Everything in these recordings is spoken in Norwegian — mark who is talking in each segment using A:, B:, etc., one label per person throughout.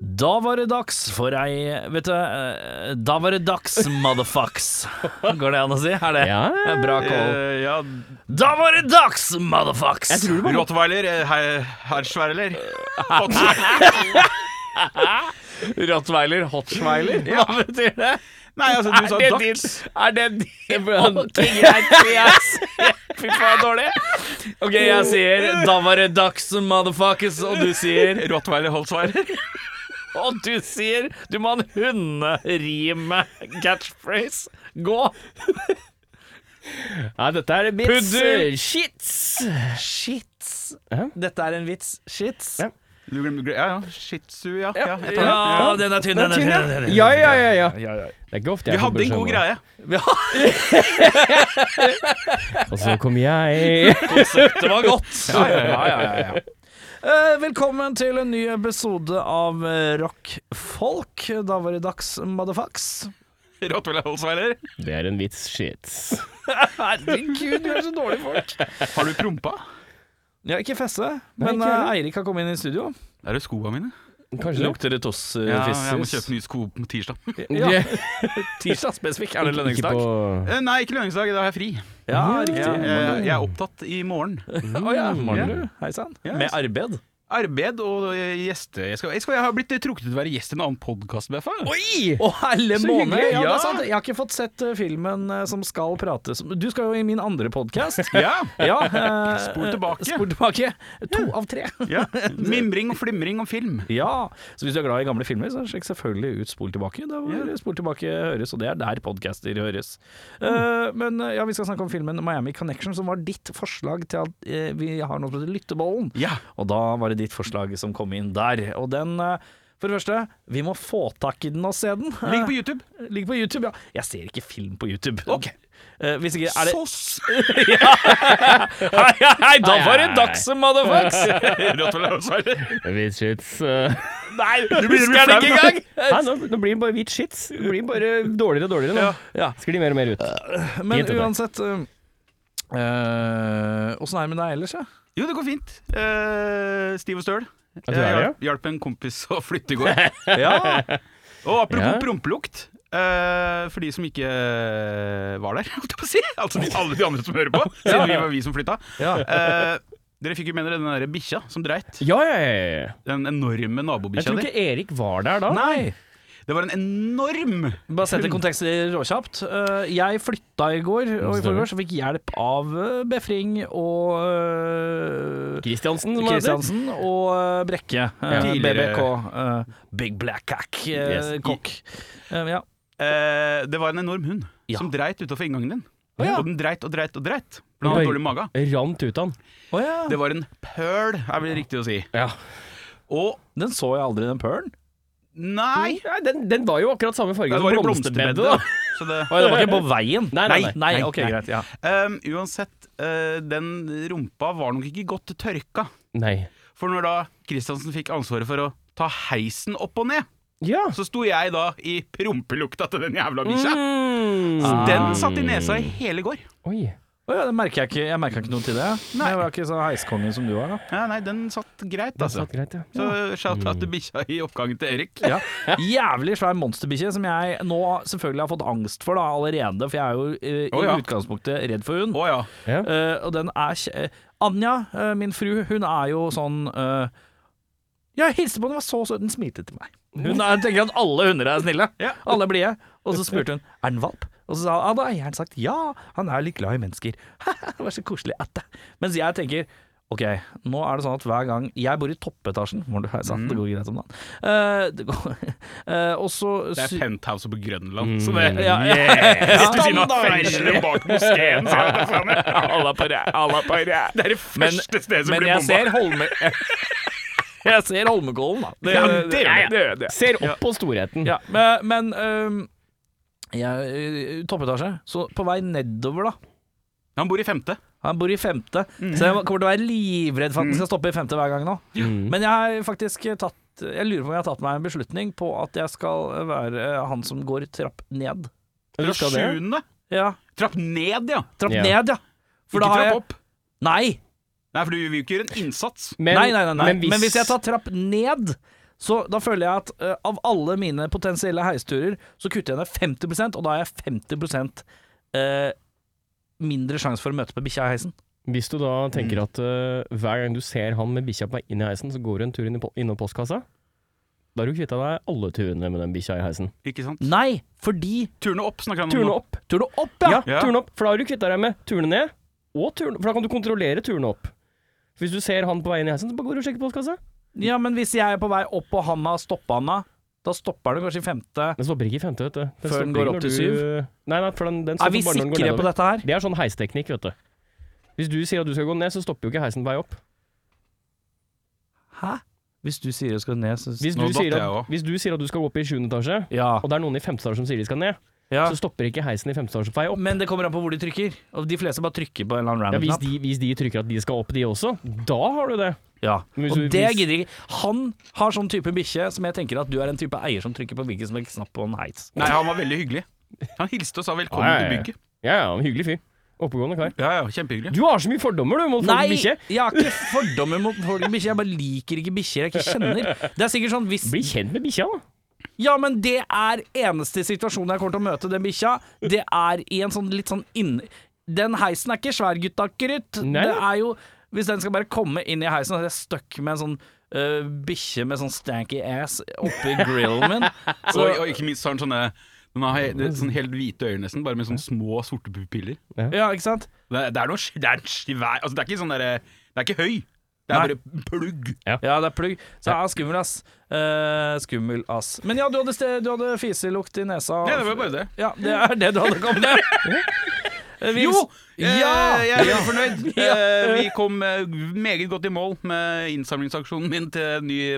A: Da var det dags for ei Vet du, eh, da var det dags, motherfucks. Går det an å si? Er det
B: Ja, ja, ja.
A: bra call?
C: Eh, ja,
A: Da var det dags, motherfucks!
B: Jeg tror det var
C: Rottweiler, eh, her- herrsverler.
B: Rottweiler, Hotsweiler.
A: Hva betyr det?
C: Nei, altså, du sa
B: det
C: dags.
B: din- Er det din Ok, greit. jeg sier- Fy faen, dårlig.
A: Ok, jeg sier da var det dags, motherfuckers, og du sier
C: Rottweiler, holsweiler.
B: Og du sier du må ha en hunderime catchphrase. Gå.
A: Ja, dette er vits.
B: Pudder.
A: Shits. Shits.
B: Ja.
A: Dette er en vits. Shits.
B: Ja.
C: Du glemte gre- Ja, ja. Shih Tzu, ja. ja, jeg tar
A: Ja,
C: det.
A: den er tynn, den er tynn. den er tynn.
B: Ja, ja, ja, ja.
A: Ja, ja.
B: Det er ikke ofte
C: Vi
B: jeg får
C: hadde en
B: beskjed om
C: god
B: det.
C: greie.
B: Og så kom jeg.
A: Det var godt. Ja, ja, ja, ja, Eh, Velkommen til en ny episode av eh, Rock Folk. Da var det dags, motherfucks.
C: Rottweiler, holsweiler.
B: Det er en vits. Shit.
A: Herregud, vi er så dårlige folk.
C: Har du prompa?
A: Ja, ikke fesse, men
B: ikke heller.
A: eh, Eirik har kommet inn i studio.
C: Der er skoa mine.
B: Kanskje det.
A: Lukter det toss, eh,
C: Ja, jeg må kjøpe nye sko på tirsdag.
A: Ja. Tirsdag spesifikk. Er det
B: Ikke
A: lønningsdag?
B: på
C: Eh, Nei, ikke lønningsdag. Da har jeg fri.
A: Ja, riktig.
C: Ja, jeg, jeg er opptatt i morgen.
A: Å ja.
B: Mangler du?
A: Hei sann.
C: Ja,
A: Med
C: altså.
A: arbeid.
C: Arbeid og eh, gjeste... Jeg, skal, jeg, skal, jeg har blitt eh, trukket ut til å være gjest i en annen podkast, Beffa.
B: Oi!
A: Å, helle
B: Så
A: måned!
B: hyggelig,
A: Ja, det
C: ja.
A: er sant. Jeg har ikke fått sett eh, filmen eh, som skal prates om. Du skal jo i min andre podkast.
C: Ja.
A: Ja, eh,
C: Spol tilbake.
A: Spol tilbake. To av tre.
C: ja. Mimring og flimring om film.
A: Ja, så hvis du er glad i gamle filmer, så sjekk selvfølgelig ut Spol tilbake. Der hvor
C: Ja.
A: Spol tilbake høres, og det er der podcaster høres. Eh, men eh, ja, vi skal snakke om filmen Miami Connection, som var ditt forslag til at eh, vi har noe som heter Lyttebollen.
C: Ja.
A: Og da var det ditt forslag som kom inn der. Og den eh, for det første, vi må få tak i den og se den.
C: Ligg på YouTube.
A: Eh, ligger på YouTube, ja. Jeg ser ikke film på YouTube.
C: Ok.
A: Eh, hvis ikke er det
C: Sås!
A: Hei, hei, hei, da
B: Hei,
A: var det
B: hei.
A: dags, motherfucks!
C: Rottweiler og Sveiler.
B: Hvit shits. uh.
A: Nei, du
C: blir- du blir
A: husker den ikke
C: flau
A: engang!
B: Nei, nå, nå blir den bare hvit shits. Den blir bare dårligere og dårligere nå.
A: Ja.
B: Sklir mer og mer ut.
A: Men
B: Fint, det.
A: uansett Åssen er det med deg ellers, ja?
C: Jo, det går fint. Eh, Stiv og støl.
B: du er det, ja?
C: hjalp- hjalp en kompis å flytte i går.
A: ja.
C: Og apropos
B: Ja.
C: prompelukt. eh, for de som ikke eh, var der, holdt jeg på å si. Altså de, alle de andre som hører på, siden vi var vi som flytta. Eh, dere fikk jo med dere den der bikkja som dreit.
B: Ja, ja, ja, ja.
C: Den enorme
B: Jeg
C: nabobikkja
B: tror
C: di.
B: ikke Erik var der da.
A: Nei.
C: Det var en enorm
A: Bare sett i kontekst råkjapt. Eh, jeg flytta i går, og i forgårs så fikk hjelp av eh, Befring og eh,
B: Kristiansen, som han heter.
A: Kristiansen og eh, Brekke. Eh,
C: Tidligere-
A: BBK. eh, Big Black Cack. eh,
B: Yes.
A: Kokk. Eh, ja.
C: eh, Det var en enorm hund
A: Ja.
C: som dreit utafor inngangen din.
A: Å ja.
C: Og den dreit og dreit og dreit. For den
B: Oi.
C: hadde dårlig mage.
B: Rant ut han.
A: Å ja.
C: Det var en pøl, er vel riktig å si.
B: Ja.
C: Og
A: Den så jeg aldri, den pølen.
C: nei!
B: Nei, den, den var jo akkurat samme farge
C: Det
B: som
C: var i
B: blomsterbedet. da.
C: blomsterbedet. Så det,
A: Å, ja, det var ikke på veien?
B: Nei, nei, nei.
A: Nei,
C: Nei,
A: ok,
C: nei.
A: greit. Ja.
C: um, uansett, eh, den rumpa var nok ikke godt tørka.
B: Nei.
C: For når da Kristiansen fikk ansvaret for å ta heisen opp og ned,
B: Ja.
C: så sto jeg da i prompelukta til den jævla bikkja.
B: Mm.
C: Så den satt i nesa i hele går.
B: Oi.
A: Å ja, det merker jeg ikke. Jeg merka ikke noe til det. Nei. Jeg var ikke så heiskongen som du var, da.
C: Ja, nei, den satt greit,
B: Den
C: altså.
B: satt greit, ja.
C: Så shout-out til bikkja i oppgangen til Erik.
A: Ja. Jævlig svær monsterbikkje som jeg nå selvfølgelig har fått angst for da allerede, for jeg er jo eh, i
C: Å, ja.
A: utgangspunktet redd for hund.
C: Å ja.
B: ja.
A: Eh, og den er kje- eh, Anja, eh, min fru, hun er jo sånn eh, Jeg hilste på henne, var så søt. Hun smilte til meg. Hun er, tenker at alle hunder er snille.
C: Ja.
A: Alle er blide. Og så spurte hun er den valp. Og så sa han, ja, da har eieren sagt ja, han er litt glad i mennesker. det var så koselig at det. Mens jeg tenker ok, nå er det sånn at hver gang Jeg bor i toppetasjen, hvor det er
C: Mm.
A: sant, det går greit om dagen. Eh, det går, eh, og så
C: Det er
A: sy-
C: penthouse på Grønland, så det
B: Mm.
A: ja, ja.
C: Ved siden av
A: Standard.
C: fengselet bak moskeen. så er det sånn.
A: Alla på rad, alla på rad.
C: Det er det
A: Men,
C: første stedet som
A: men
C: blir
A: jeg
C: bomba.
A: ser Holme... Jeg ser Holmenkollen, da.
C: Ja, det gjør jeg.
A: det, gjør jeg.
B: Ser opp på storheten.
A: Ja, men, men øhm, jeg, øh, Toppetasje. Så på vei nedover, da.
C: Han bor i femte.
A: Han bor i femte,
C: Mm.
A: så jeg kommer til å være livredd for at den skal stoppe i femte hver gang nå.
B: Mm.
A: Men jeg har faktisk tatt Jeg lurer på om jeg har tatt meg en beslutning på at jeg skal være øh, han som går trapp ned.
B: Du
C: Fra
B: skal det?
C: sjuende.
A: Ja,
C: Trapp ned, ja.
A: trapp
B: Ja.
A: ned, ja. For
C: Ikke
A: da
C: trapp
A: har jeg
C: opp.
A: Nei!
C: Nei, for du vil jo ikke gjøre en innsats.
B: Men,
A: nei, nei, nei, nei.
B: Men hvis,
A: jeg tar trapp ned, Så da føler jeg at eh, av alle mine potensielle heisturer, så kutter jeg ned 50 og da har jeg 50 eh, mindre sjanse for å møte på bikkja i heisen.
D: Hvis du da tenker at eh, hver gang du ser han med bikkja på vei inn i heisen, så går du en tur inn i po innom postkassa, da har du kvitta deg alle turene med den bikkja i heisen.
C: Ikke sant?
A: Nei, fordi
C: Turne opp snakker han om.
D: Turene
C: nå.
D: opp!
A: Tror du opp,
D: Ja,
A: ja?
C: Ja.
D: turene opp. For da har du kvitta deg med turene ned, og turene For da kan du kontrollere turene opp. Hvis du ser han på vei inn i heisen, så bare går du og sjekker postkassa.
A: Ja, men hvis jeg er på vei opp og han har stoppa han da, da stopper han kanskje i femte.
D: Den stopper ikke i femte, vet du.
A: Før den
D: stopper
A: går
D: ikke
A: opp
D: når
A: til
D: du- Nei, nei, for den, den
A: Er
D: stopper
A: vi
D: bare når den går
A: sikre på
D: nedover.
A: dette her?
D: Det er sånn heisteknikk, vet du. Hvis du sier at du skal gå ned, så stopper jo ikke heisen på vei opp.
A: Hæ? Hvis du sier du skal ned, så
D: Hvis du,
C: Nå datt
D: sier
C: jeg
D: at,
C: også.
D: hvis du sier at du skal gå opp i sjuende etasje,
A: Ja.
D: og det er noen i femte etasje som sier de skal ned,
A: ja.
D: så stopper ikke heisen i femte etasje på vei opp.
A: Men det kommer an på hvor de trykker. Og de fleste bare trykker på en eller annen
D: Ja,
A: random
D: hvis,
A: knapp.
D: de, hvis de trykker at de skal opp, de også, da har du det.
A: Ja.
D: Men hvis
A: Og
D: du-
A: det
D: hvis-
A: gidder jeg ikke. Han har sånn type bikkje som jeg tenker at du er en type eier som trykker på hvilken som helst knapp på en heis.
C: Nei, han var veldig hyggelig. Han hilste og sa velkommen
D: Ja, ja, ja.
C: til bygget.
D: Ja, ja, en hyggelig fyr. Oppegående kar.
C: Ja, ja, kjempehyggelig.
D: Du har så mye fordommer, du, mot folk
A: Nei,
D: med bikkje.
A: jeg har ikke fordommer mot folk med bikkje, jeg bare liker ikke bikkjer jeg ikke kjenner. Det er sikkert sånn hvis
D: Bli kjent med bikkja, da.
A: Ja, men det er eneste situasjonen jeg kommer til å møte den bikkja. Det er i en sånn litt sånn inn... Den heisen er ikke svær, gutta krutt.
D: Nei.
A: Det er jo Hvis den skal bare komme inn i heisen, og jeg er stuck med en sånn øh, bikkje med sånn stanky ass oppi grillen min så,
C: Og, og ikke minst har han sånne den har he- det- sånn helt hvite øyne, nesten, bare med sånne små, sorte pupiller.
A: Ja, ikke sant?
C: Det er, det er noe sk- det er en svær altså, Det er ikke sånn derre Det er ikke høy. Det er
A: Nei.
C: bare plugg.
A: Ja, det er plugg. Så ja, skummel, ass. Eh, skummel, ass. Men ja, du hadde, ste- du hadde fiselukt i nesa.
C: Ja, det var bare det.
A: Ja, det er det du hadde kommet med. Eh, vi-
C: Jo!
A: Ja!
C: Eh, Jeg er veldig fornøyd. Eh, Vi kom eh, meget godt i mål med innsamlingsaksjonen min til ny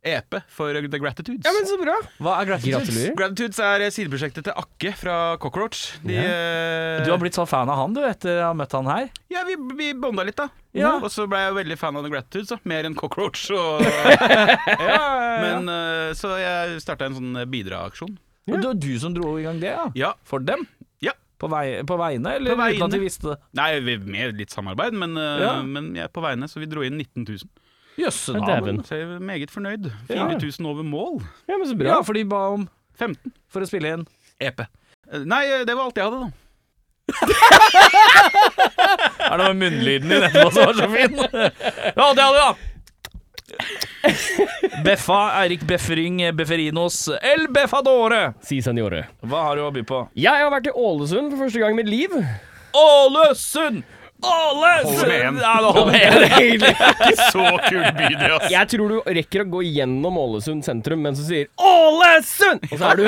C: EP for The Gratitudes.
D: så bra.
A: Hva er gratitude?
D: Gratulerer.
C: Gratitudes er eh, sideprosjektet til Akke fra Cockroach. De, eh,
A: Du har blitt så fan av han, du, etter å ha møtt han her.
C: Ja, vi, vi bonda litt, da.
A: Ja.
C: Og så ble jeg veldig fan av The Gratitudes. Da. Mer enn Cockroach. Og, Men, eh, så jeg starta en sånn bidragsaksjon.
A: Men det var du som dro i gang det, ja?
C: Ja.
A: For dem?
C: Ja.
A: På, vei, på vegne, eller
C: På vegne.
A: uten at de visste det?
C: Nei, vi- med litt samarbeid, men, eh,
A: Ja.
C: men jeg er på vegne, så vi dro inn 19 000.
A: Jøssenavn.
D: Dæven.
C: Så jeg er meget fornøyd.
A: Mm. Ja.
C: 4000 over mål.
D: Ja, men så bra.
A: Ja, for de ba om
C: 15
A: for å spille inn.
C: EP. Eh, Nei, eh, det var alt jeg hadde, da.
A: Er det munnlyden din etterpå som var så fin? Ja, det hadde vi, da! Beffa, Eirik Beffering, Befferinos, El Beffadore.
D: Si seniore.
A: Hva har du å by på?
D: Jeg har vært i Ålesund for første gang i mitt liv.
A: Ålesund! Ålesund!
C: Holder med en.
A: Ja, det holder med en.
C: Så kul by, det, ass.
D: Jeg tror du rekker å gå gjennom Ålesund sentrum mens du sier Ålesund! Og så er du,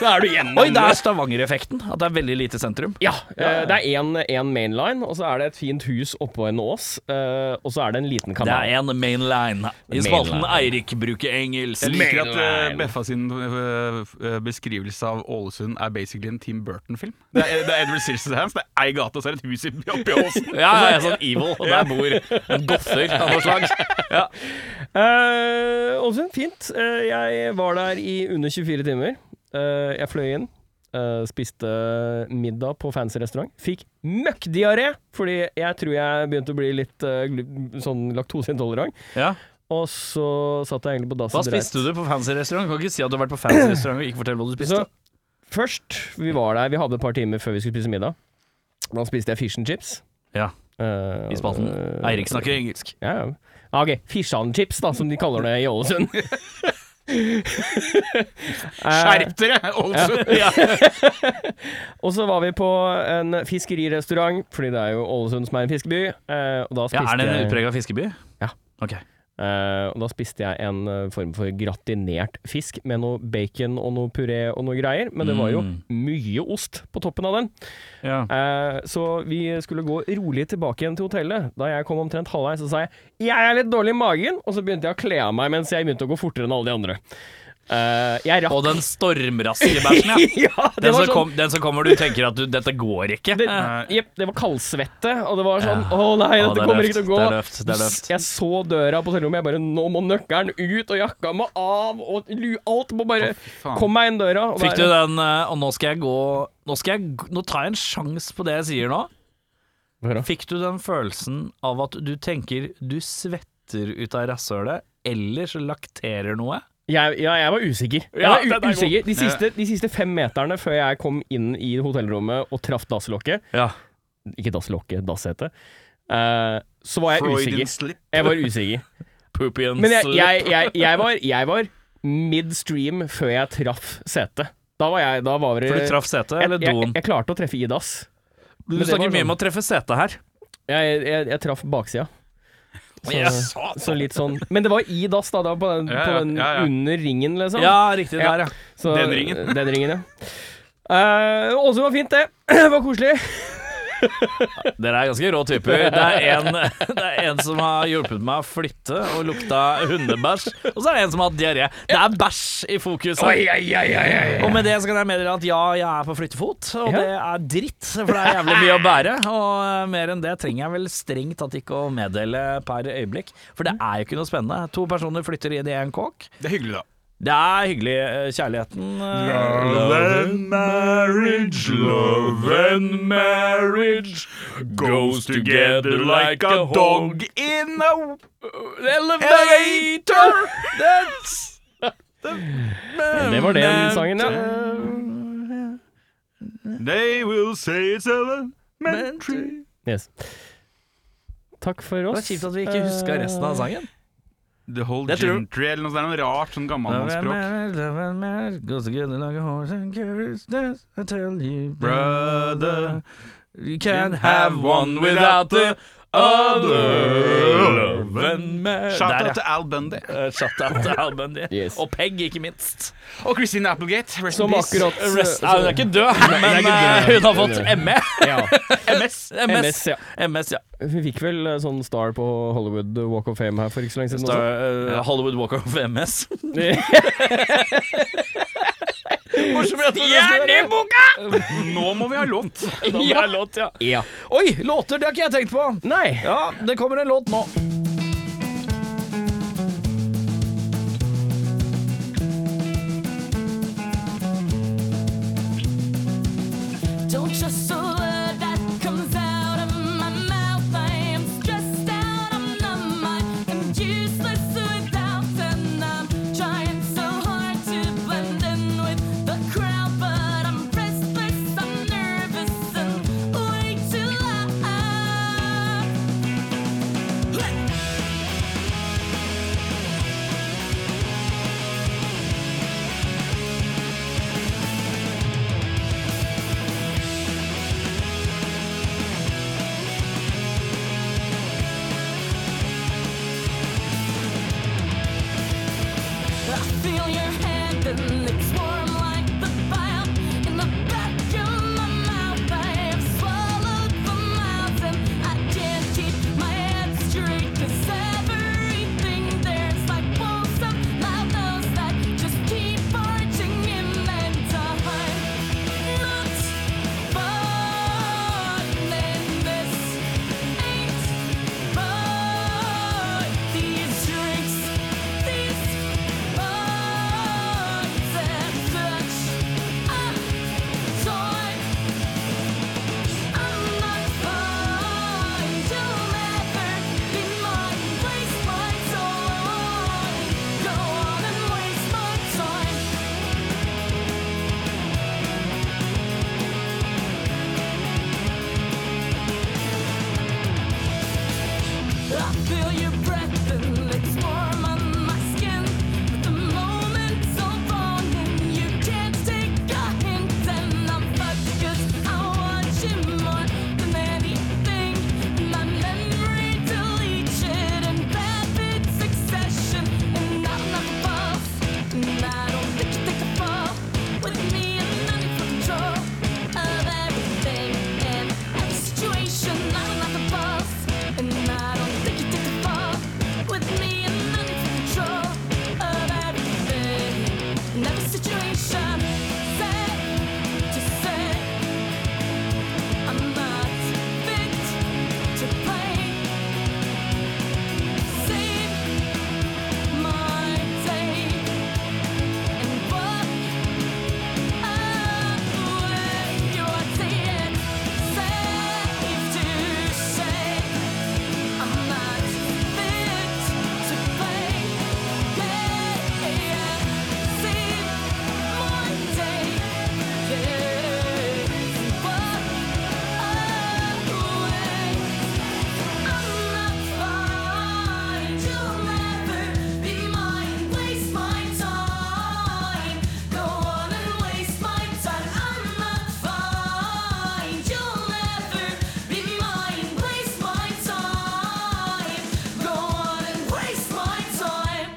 D: så er du gjennom.
A: Oi, det er Stavanger-effekten. At det er veldig lite sentrum.
D: Ja, eh, det er én mainline, og så er det et fint hus oppå en ås, eh, og så er det en liten
A: Det
D: kanal.
A: er en mainline. I spalten Eirik bruker engelsk.
C: Jeg liker at eh,
D: Mainline.
C: Beffa sin eh, f- eh, beskrivelse av Ålesund er basically en Tim Burton-film. Det, er- det er Edward Scissorhands, det er ei gate, og så er det et hus i- oppi åsen.
A: Ja, jeg er sånn evil, og der bor en goffer av noe slag. Ja.
D: Eh, Ålesund, fint. Eh, jeg var der i under 24 timer. Eh, jeg fløy inn, eh, spiste middag på fancy restaurant. Fikk møkkdiaré, fordi jeg tror jeg begynte å bli litt eh, glu- sånn laktoseintolerant.
A: Ja.
D: Og så satt jeg egentlig på dass
A: Hva
D: og dreit.
A: spiste du på fancy restaurant? Kan ikke si at du har vært på fancy restaurant og ikke fortelle hva du spiste.
D: Så først, vi var der, vi hadde et par timer før vi skulle spise middag. Da spiste jeg fish and chips.
A: Ja.
D: Eh,
A: I spalten
D: eh,
A: Eirik snakker engelsk.
D: Ja, ja. Ah, Ok, fish and chips da, som de kaller det i Ålesund. Eh,
C: Skjerp dere, Ålesund!
D: og så var vi på en fiskerirestaurant, fordi det er jo Ålesund som er en fiskeby. eh, og da
A: Ja,
D: spiste
A: er det en
D: jeg,
A: utprega fiskeby?
D: Ja.
A: Ok.
D: eh, og da spiste jeg en eh, form for gratinert fisk med noe bacon og noe puré og noe greier. Men det var jo
A: Mm.
D: mye ost på toppen av den.
A: Ja.
D: Eh, Så vi skulle gå rolig tilbake igjen til hotellet. Da jeg kom omtrent halvveis, så sa jeg jeg er litt dårlig i magen, og så begynte jeg å kle av meg mens jeg begynte å gå fortere enn alle de andre. Eh, jeg rakk
A: Og den stormraske bæsjen, ja.
D: ja, det
A: Den som,
D: var sånn
A: kom, den som kommer du tenker at du, dette går ikke.
D: det,
A: Ja.
D: jepp, det var kaldsvette, og det var sånn Å nei,
A: Ja,
D: dette
A: det er
D: kommer
A: løft,
D: ikke til å gå.
A: det er løft, det er løft.
D: Jeg så døra på hotellrommet, jeg bare Nå må nøkkelen ut, og jakka må av, og lu, alt må bare
C: faen.
D: Kom meg inn døra. Og
A: Fikk du
D: være-
A: den eh, Og nå skal jeg gå Nå, skal jeg, g- nå tar jeg en sjanse på det jeg sier nå.
D: Hva da?
A: Fikk du den følelsen av at du tenker du svetter ut av rasshølet, eller så lakterer noe?
D: Jeg, ja, jeg var usikker. Jeg
B: Ja,
D: var
B: den er
D: u
B: god.
D: usikker. De, siste, de siste fem meterne før jeg kom inn i hotellrommet og traff dasslokket
A: Ja.
D: Ikke dasslokket, dassete. eh, så var jeg
C: Freudian
D: usikker.
C: slip.
D: Jeg var usikker.
B: Poopy and
D: Men jeg,
B: slip.
D: jeg, jeg, jeg var, jeg var midstream før jeg traff setet. Da var jeg da var det,
A: For du traff setet,
D: jeg,
A: eller
D: jeg,
A: doen?
D: jeg klarte å treffe i dass.
A: Du
D: det
A: snakker
D: var
A: mye
D: sånn-
A: om å treffe setet her.
D: Jeg, jeg, jeg traff baksida. Så,
B: Ja, satan.
D: så litt sånn Men det var i dass, da. Det var på den,
C: Ja,
D: På
C: ja,
D: den
C: ja, ja.
D: under ringen, liksom.
A: Ja, riktig.
D: Ja.
A: Der, ja.
D: Så,
C: Den ringen.
D: Den ringen, ja. Eh, Åse var fint, det. Det var koselig.
B: Dere er ganske rå typer. Det er, en, det er en som har hjulpet meg å flytte og lukta hundebæsj, og så er det en som har hatt diaré. Det er bæsj i fokus. her. Og med det så kan jeg meddele at ja, jeg er på flyttefot, og
D: Ja.
B: det er dritt, for det er jævlig mye å bære. Og eh, mer enn det trenger jeg vel strengt tatt ikke å meddele per øyeblikk, for det er jo ikke noe spennende. To personer flytter inn i en kåk.
C: Det er hyggelig, da.
B: Det er hyggelig, eh, kjærligheten. eh,
C: marriage, love and marriage goes together like a dog in a elevator. That's
D: Det var den sangen,
A: eh,
D: ja.
C: They will say it's elementary.
D: Yes. Takk for
A: Det
D: oss.
A: var kjipt at vi ikke huska resten av sangen.
C: The whole
A: Det tror-
C: gentry eller noe sånt. det er Noe rart sånn gammelmannsspråk. eh, Brother,
A: You can't
C: have one without the other.
A: Love and marriage.
C: Shout
A: Der,
C: out to Al Bundy.
A: ja. Eh, Shout out til Al Bundy.
D: Yes.
A: Og Peg, ikke minst.
C: Og Christine Applegate. Rest
D: Eh, Som
C: in peace.
D: akkurat
A: Rest, Nei, hun er ikke død, men eh, hun har fått ME.
D: Ja.
A: MS.
D: MS, ja.
A: MS, ja.
D: Vi fikk vel eh, sånn star på Hollywood eh, Walk of Fame her for ikke så lenge siden.
A: Star, eh, Hollywood Walk of MS.
D: Også.
A: Hjerneboka!
C: Nå må vi ha lånt.
A: Ja. Låt, ja.
D: ja.
A: Oi, låter, det har ikke jeg tenkt på.
D: Nei.
A: Ja, det kommer en låt nå.
E: Don't trust a word that comes out of my mouth. I am stressed out, I'm numb, I am useless without, and I'm trying so hard to blend in with the crowd, but I'm restless, I'm nervous, and way too loud. I feel your hand and it's warm like the fire in the back of my mouth. I have swallowed for miles and I can't keep my head straight 'cause everything there's like walls of loud noise that just keep arching in and time. Not fun in this ain't fun. These drinks, these. But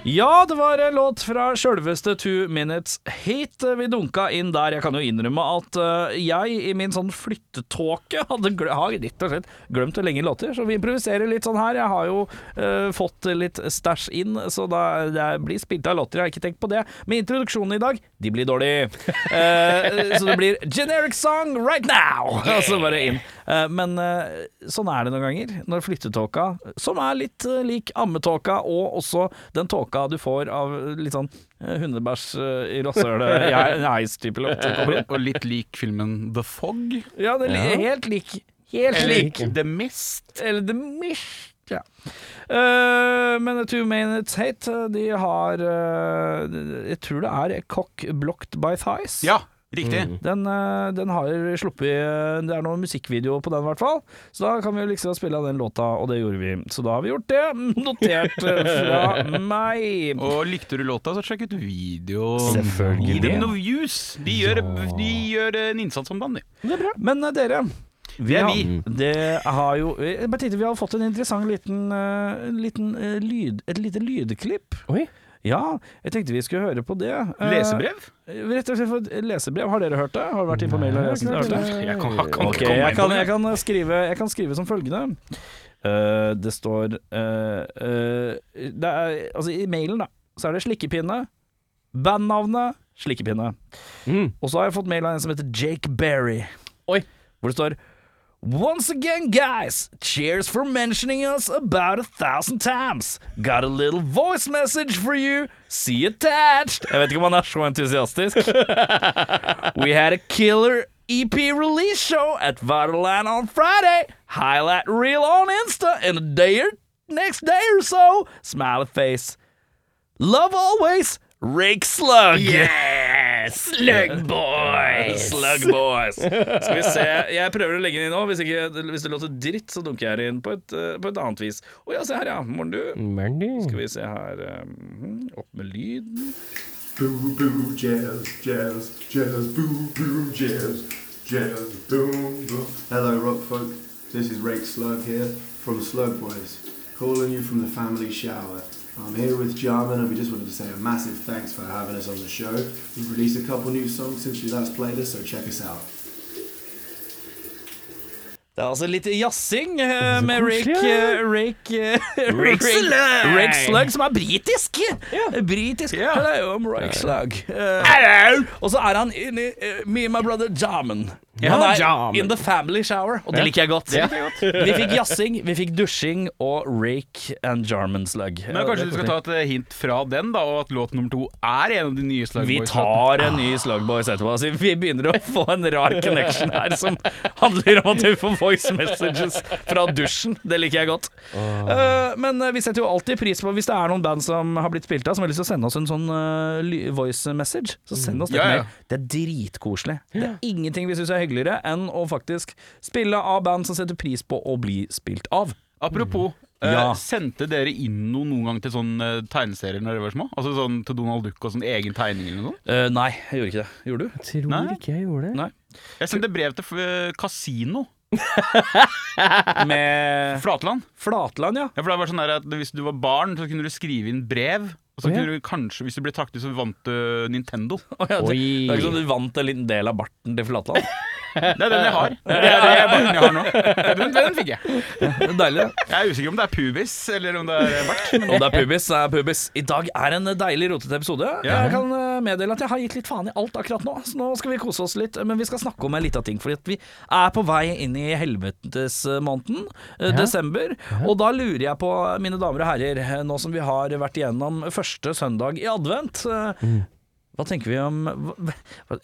A: Ja, det var en låt fra sjølveste Two Minutes Hate vi dunka inn der. Jeg kan jo innrømme at eh, jeg i min sånn flyttetåke hadde gle har rett og slett glemt å lenge låter, så vi improviserer litt sånn her. Jeg har jo eh, fått litt stæsj inn, så da, det blir spilt av låter. Jeg har ikke tenkt på det. Men introduksjonen i dag, de blir dårlige. Eh, så det blir 'generic song right now', og så bare inn. Eh, men eh, sånn er det noen ganger når flyttetåka, som er litt eh, lik ammetåka, og også den tåka du får av litt sånn eh, hundebæsj eh, i rasshølet, heis-type låt.
C: Og, og litt lik filmen The Fog.
A: Ja, det er helt lik. Helt lik.
C: The Mist.
A: Eller The Mist. Ja. Eh, men Two Minutes Hate, eh, de har eh, Jeg tror det er Cock Blocked by Thighs.
C: Ja, riktig.
A: Den, eh, den har sluppet eh, Det er noen musikkvideo på den, i hvert fall. Så da kan vi jo liksom spille av den låta, og det gjorde vi. Så da har vi gjort det. Notert eh, fra meg.
C: Og likte du låta, så sjekk ut videoen. Gi
A: Selvfølgelig.
C: dem noe views! De gjør, de gjør en innsats om dagen, de.
A: Men eh, dere
C: Det er
A: har-
C: vi.
A: Det har jo Jeg bare tenkte vi har fått en interessant liten, eh, liten eh, lyd, Et lite lydklipp.
D: Oi.
A: Ja, jeg tenkte vi skulle høre på det. Eh,
C: Lesebrev?
A: Rett og slett for et lesebrev. Har dere hørt det? Har dere vært inne på mailen? og lest- hørt det?
C: Jeg kan, kan ikke
A: Ok,
C: komme
A: jeg
C: inn på
A: kan,
C: det.
A: jeg, kan skrive, jeg kan skrive som følgende. Eh, det står eh, eh, det er, Altså, i mailen, da, så er det slikkepinne. Bandnavnet slikkepinne.
D: Mm.
A: Og så har jeg fått mail av en som heter Jake Berry.
D: Oi.
A: Hvor det står Once again, guys, cheers for mentioning us about a thousand times. Got a little voice message for you. See attached. Jeg vet ikke om han er så entusiastisk. We had a killer EP release show at Vitterland on Friday. Highlight reel on Insta in a day or next day or so. Smiley face. Love always, Rake Slug. Yeah, Slug Boys. Slug Boys. Skal vi se. Jeg prøver å legge den inn nå. Hvis, ikke, hvis det låter dritt, så dunker jeg det inn på et, eh, på et annet vis. Å ja, se her, ja. Morn, du.
D: Men
A: Skal
D: du
A: vi se her. eh, Opp med lyden.
F: Boo boo jazz, jazz, jazz, boo boo jazz, jazz, boom boom. Hello, rock folk. This is Rake Slug here from Slug Boys, calling you from the family shower. I'm here with Jarman, and we just wanted to say a massive thanks for having us on the show. We've released a couple new songs since you last played us, so check us out.
A: Det er altså litt jazzing eh, med Rick
D: koselig,
A: eh, Rick, eh, Rick Slug. Rick Slug, som er britisk. Britisk. Hello, I'm Rick Slug. Eh, Og så er han in, eh, Me and my brother Jamin. han er
D: Jamin.
A: in the family shower, og det liker jeg godt. vi fikk jazzing, vi fikk dusjing og Rake and Jarman Slug.
C: Men Kanskje du skal ta et eh, hint fra den, da, og at låt nummer to er en av de nye
A: Vi
C: slagboys
A: tar en ny Slugboys etterpå. Altså, vi begynner å få en rar connection her som handler om at vi får voice messages fra dusjen. Det liker jeg godt. Eh, men eh, vi setter jo alltid pris på hvis det er noen band som har blitt spilt av, som har lyst til å sende oss en sånn eh, ly- voice message, så send oss det
C: Mm. Ja, ja.
A: mer. Det er dritkoselig. Det er ingenting vi syns er hyggeligere enn å faktisk spille av band som setter pris på å bli spilt av.
C: Apropos, eh,
A: Ja.
C: sendte dere inn noe noen gang til sånne eh, tegneserier når dere var små? Altså sånn til Donald Duck og sånn egen tegning eller noe sånt?
A: Eh, nei, jeg gjorde ikke det. Gjorde du?
D: Tror
C: Nei.
D: ikke jeg gjorde det.
A: Nei.
C: Jeg sendte brev til eh, Casino
A: Med
C: Flatland.
A: Flatland, ja.
C: Ja, for det var sånn der at Hvis du var barn, så kunne du skrive inn brev. Og så kunne du kanskje, hvis du ble trukket ut, så vant du Nintendo.
A: Å, ja, det,
D: Oi.
A: det er ikke sånn du vant en liten del av barten til Flatland.
C: Det er den jeg har. Det er, det er bare den jeg har nå. Den, den fikk jeg.
A: Deilig.
C: Jeg er usikker om det er pubis eller om det er bart. men-
A: Om det er pubis, så er pubis. I dag er en deilig rotete episode.
C: Ja.
A: Jeg kan eh, meddele at jeg har gitt litt faen i alt akkurat nå, så nå skal vi kose oss litt. Men vi skal snakke om en lita ting, fordi at vi er på vei inn i helvetesmåneden, eh, desember. Og da lurer jeg på, mine damer og herrer, eh, nå som vi har vært igjennom første søndag i advent, eh, hva tenker vi om hva, hva,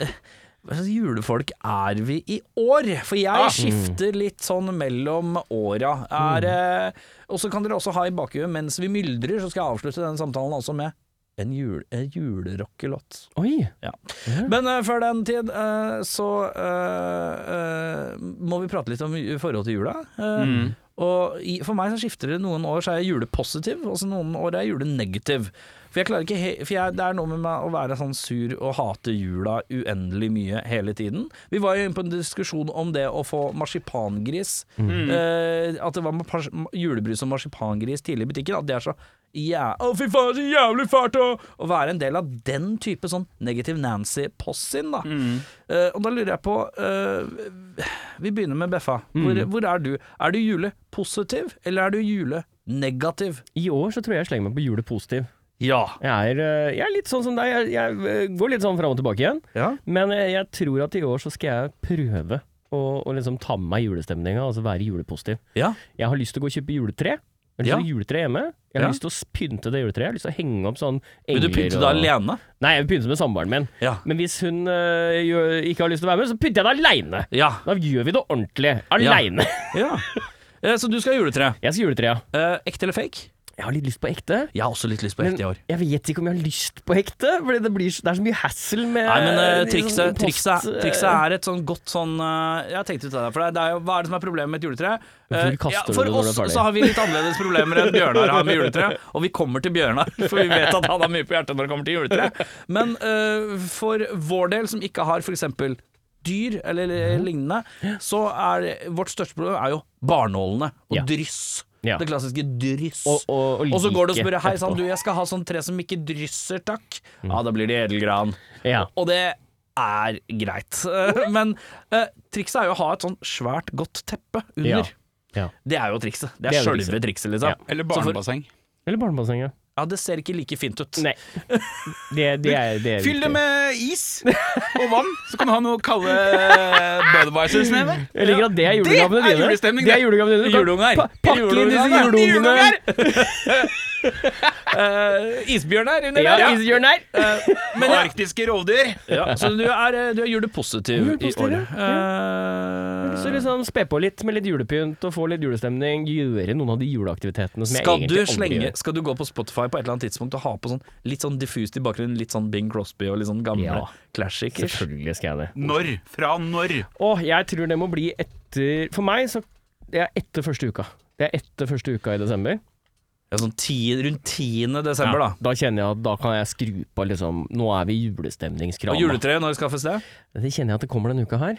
A: hva slags julefolk er vi i år? For jeg skifter litt sånn mellom åra. Er, eh, Og så kan dere også ha i bakhuet, mens vi myldrer, så skal jeg avslutte denne samtalen også med en, jul, en julerockelåt.
D: Oi.
A: Men eh, før den tid eh, så eh, eh, må vi prate litt om ju- forholdet til jula. Eh, Og i, for meg så skifter det noen år så er jeg julepositiv, og så noen år er jeg julenegativ. For, jeg klarer ikke he for jeg, det er noe med meg å være sånn sur og hate jula uendelig mye hele tiden. Vi var jo inne på en diskusjon om det å få marsipangris. Eh, at det var mars- julebrus og marsipangris tidlig i butikken. At det er så Ja, å fy faen, så jævlig fælt å Å være en del av den type sånn negativ Nancy-possin, da. Eh, og da lurer jeg på eh, Vi begynner med Beffa. Hvor, hvor er du? Er du julepositiv, eller er du julenegativ?
D: I år så tror jeg jeg slenger meg på hjulet positiv.
A: Ja.
D: Jeg er, eh, jeg er litt sånn som deg, jeg, jeg eh, går litt sånn fram og tilbake igjen.
A: ja.
D: Men jeg, jeg tror at i år så skal jeg prøve å, å liksom ta med meg julestemninga, altså være julepositiv.
A: Ja.
D: Jeg har lyst til å gå og kjøpe juletre. Jeg har lyst
A: Ja.
D: til å ha juletre hjemme. Jeg har
A: Ja.
D: lyst til å s- pynte det juletreet. Jeg har lyst til å henge opp sånn
A: Vil
D: engler
A: du pynte deg alene?
D: Nei, jeg vil pynte med samboeren min.
A: Ja.
D: Men hvis hun øh, gjør- ikke har lyst til å være med, så pynter jeg det aleine.
A: Ja.
D: Da gjør vi det ordentlig. Aleine.
A: ja. Eh, så du skal ha juletre.
D: Jeg skal ha juletre, ja.
A: Eh, ekte eller fake?
D: Jeg har litt lyst på ekte.
A: Jeg har også litt lyst på
D: Men
A: ekte i år.
D: jeg vet ikke om jeg har lyst på ekte, Fordi det, blir, så- det er så mye hassle med
A: Nei, men eh,
D: liksom
A: trikset,
D: post,
A: trikset,
D: eh,
A: trikset er et sånn godt sånn eh, Jeg tenkte ut det der for deg. Det er jo, hva er det som er problemet med et juletre? Eh,
D: Hvorfor kaster du
A: for
D: det når det er
A: oss
D: ferdig?
A: så har vi litt annerledes problemer enn Bjørnar har med juletre. Og vi kommer til Bjørnar, for vi vet at han har mye på hjertet når det kommer til juletre. Men eh, for vår del, som ikke har f.eks. dyr eller lignende, så er vårt største problem er jo barnålene og
D: Ja.
A: dryss.
D: Ja.
A: Det klassiske dryss.
D: Og- og- og
A: så går du og
D: like
A: spør Hei sann,
D: etterpå.» Mm.
A: du, jeg skal ha sånn tre som ikke drysser, takk. Ja, da blir det edelgran.
D: Ja.
A: Og det er greit. Eh, Men eh, trikset er jo å ha et sånn svært godt teppe
D: Ja.
A: under.
D: ja.
A: Det er jo trikset. Det er,
D: Det er jo
A: sjølve
D: trikset.
A: trikset, liksom. Ja.
C: Eller barnebasseng.
D: Eller barnebassenget.
A: det ser ikke like fint ut.
D: Nei. Det, det er, det er
C: Fyll det
D: riktig.
C: med is og vann, så kan du ha noe kalde Budwisers nedi.
D: Jeg liker at det er
C: Det
D: julegavene
C: er
D: dine.
C: julestemning,
D: det.
C: det.
D: er julegavene dine. Du kan
A: Juleunger.
D: pa- Pakke inn disse
A: Juleunger.
D: juleungene.
A: Eh, isbjørn her under
D: Ja,
A: der. Ja.
D: isbjørn her.
C: Og arktiske rovdyr.
A: Ja, så du er, eh, du er julepositiv i
D: Julepositiv,
A: året. Eh,
D: Så liksom spe på litt med litt julepynt og få litt julestemning. Gjøre noen av de juleaktivitetene som jeg
A: skal du,
D: egentlig aldri
A: slenge,
D: gjør.
A: skal du gå på Spotify på et eller annet tidspunkt og ha på sånn litt sånn diffust i bakgrunnen, litt sånn Bing Crosby og litt sånn gamle
D: Ja.
A: classics?
D: Selvfølgelig skal jeg det.
C: Når? Fra når?
D: Åh, jeg tror det må bli etter For meg så Det er etter første uka. Det er etter første uka i desember.
A: Ja, sånn ti, rundt 10. desember, da.
D: Da kjenner jeg at da kan jeg skru på liksom Nå er vi i julestemningskrana.
A: Og juletreet, når skaffes det?
D: Det kjenner jeg at det kommer denne uka her.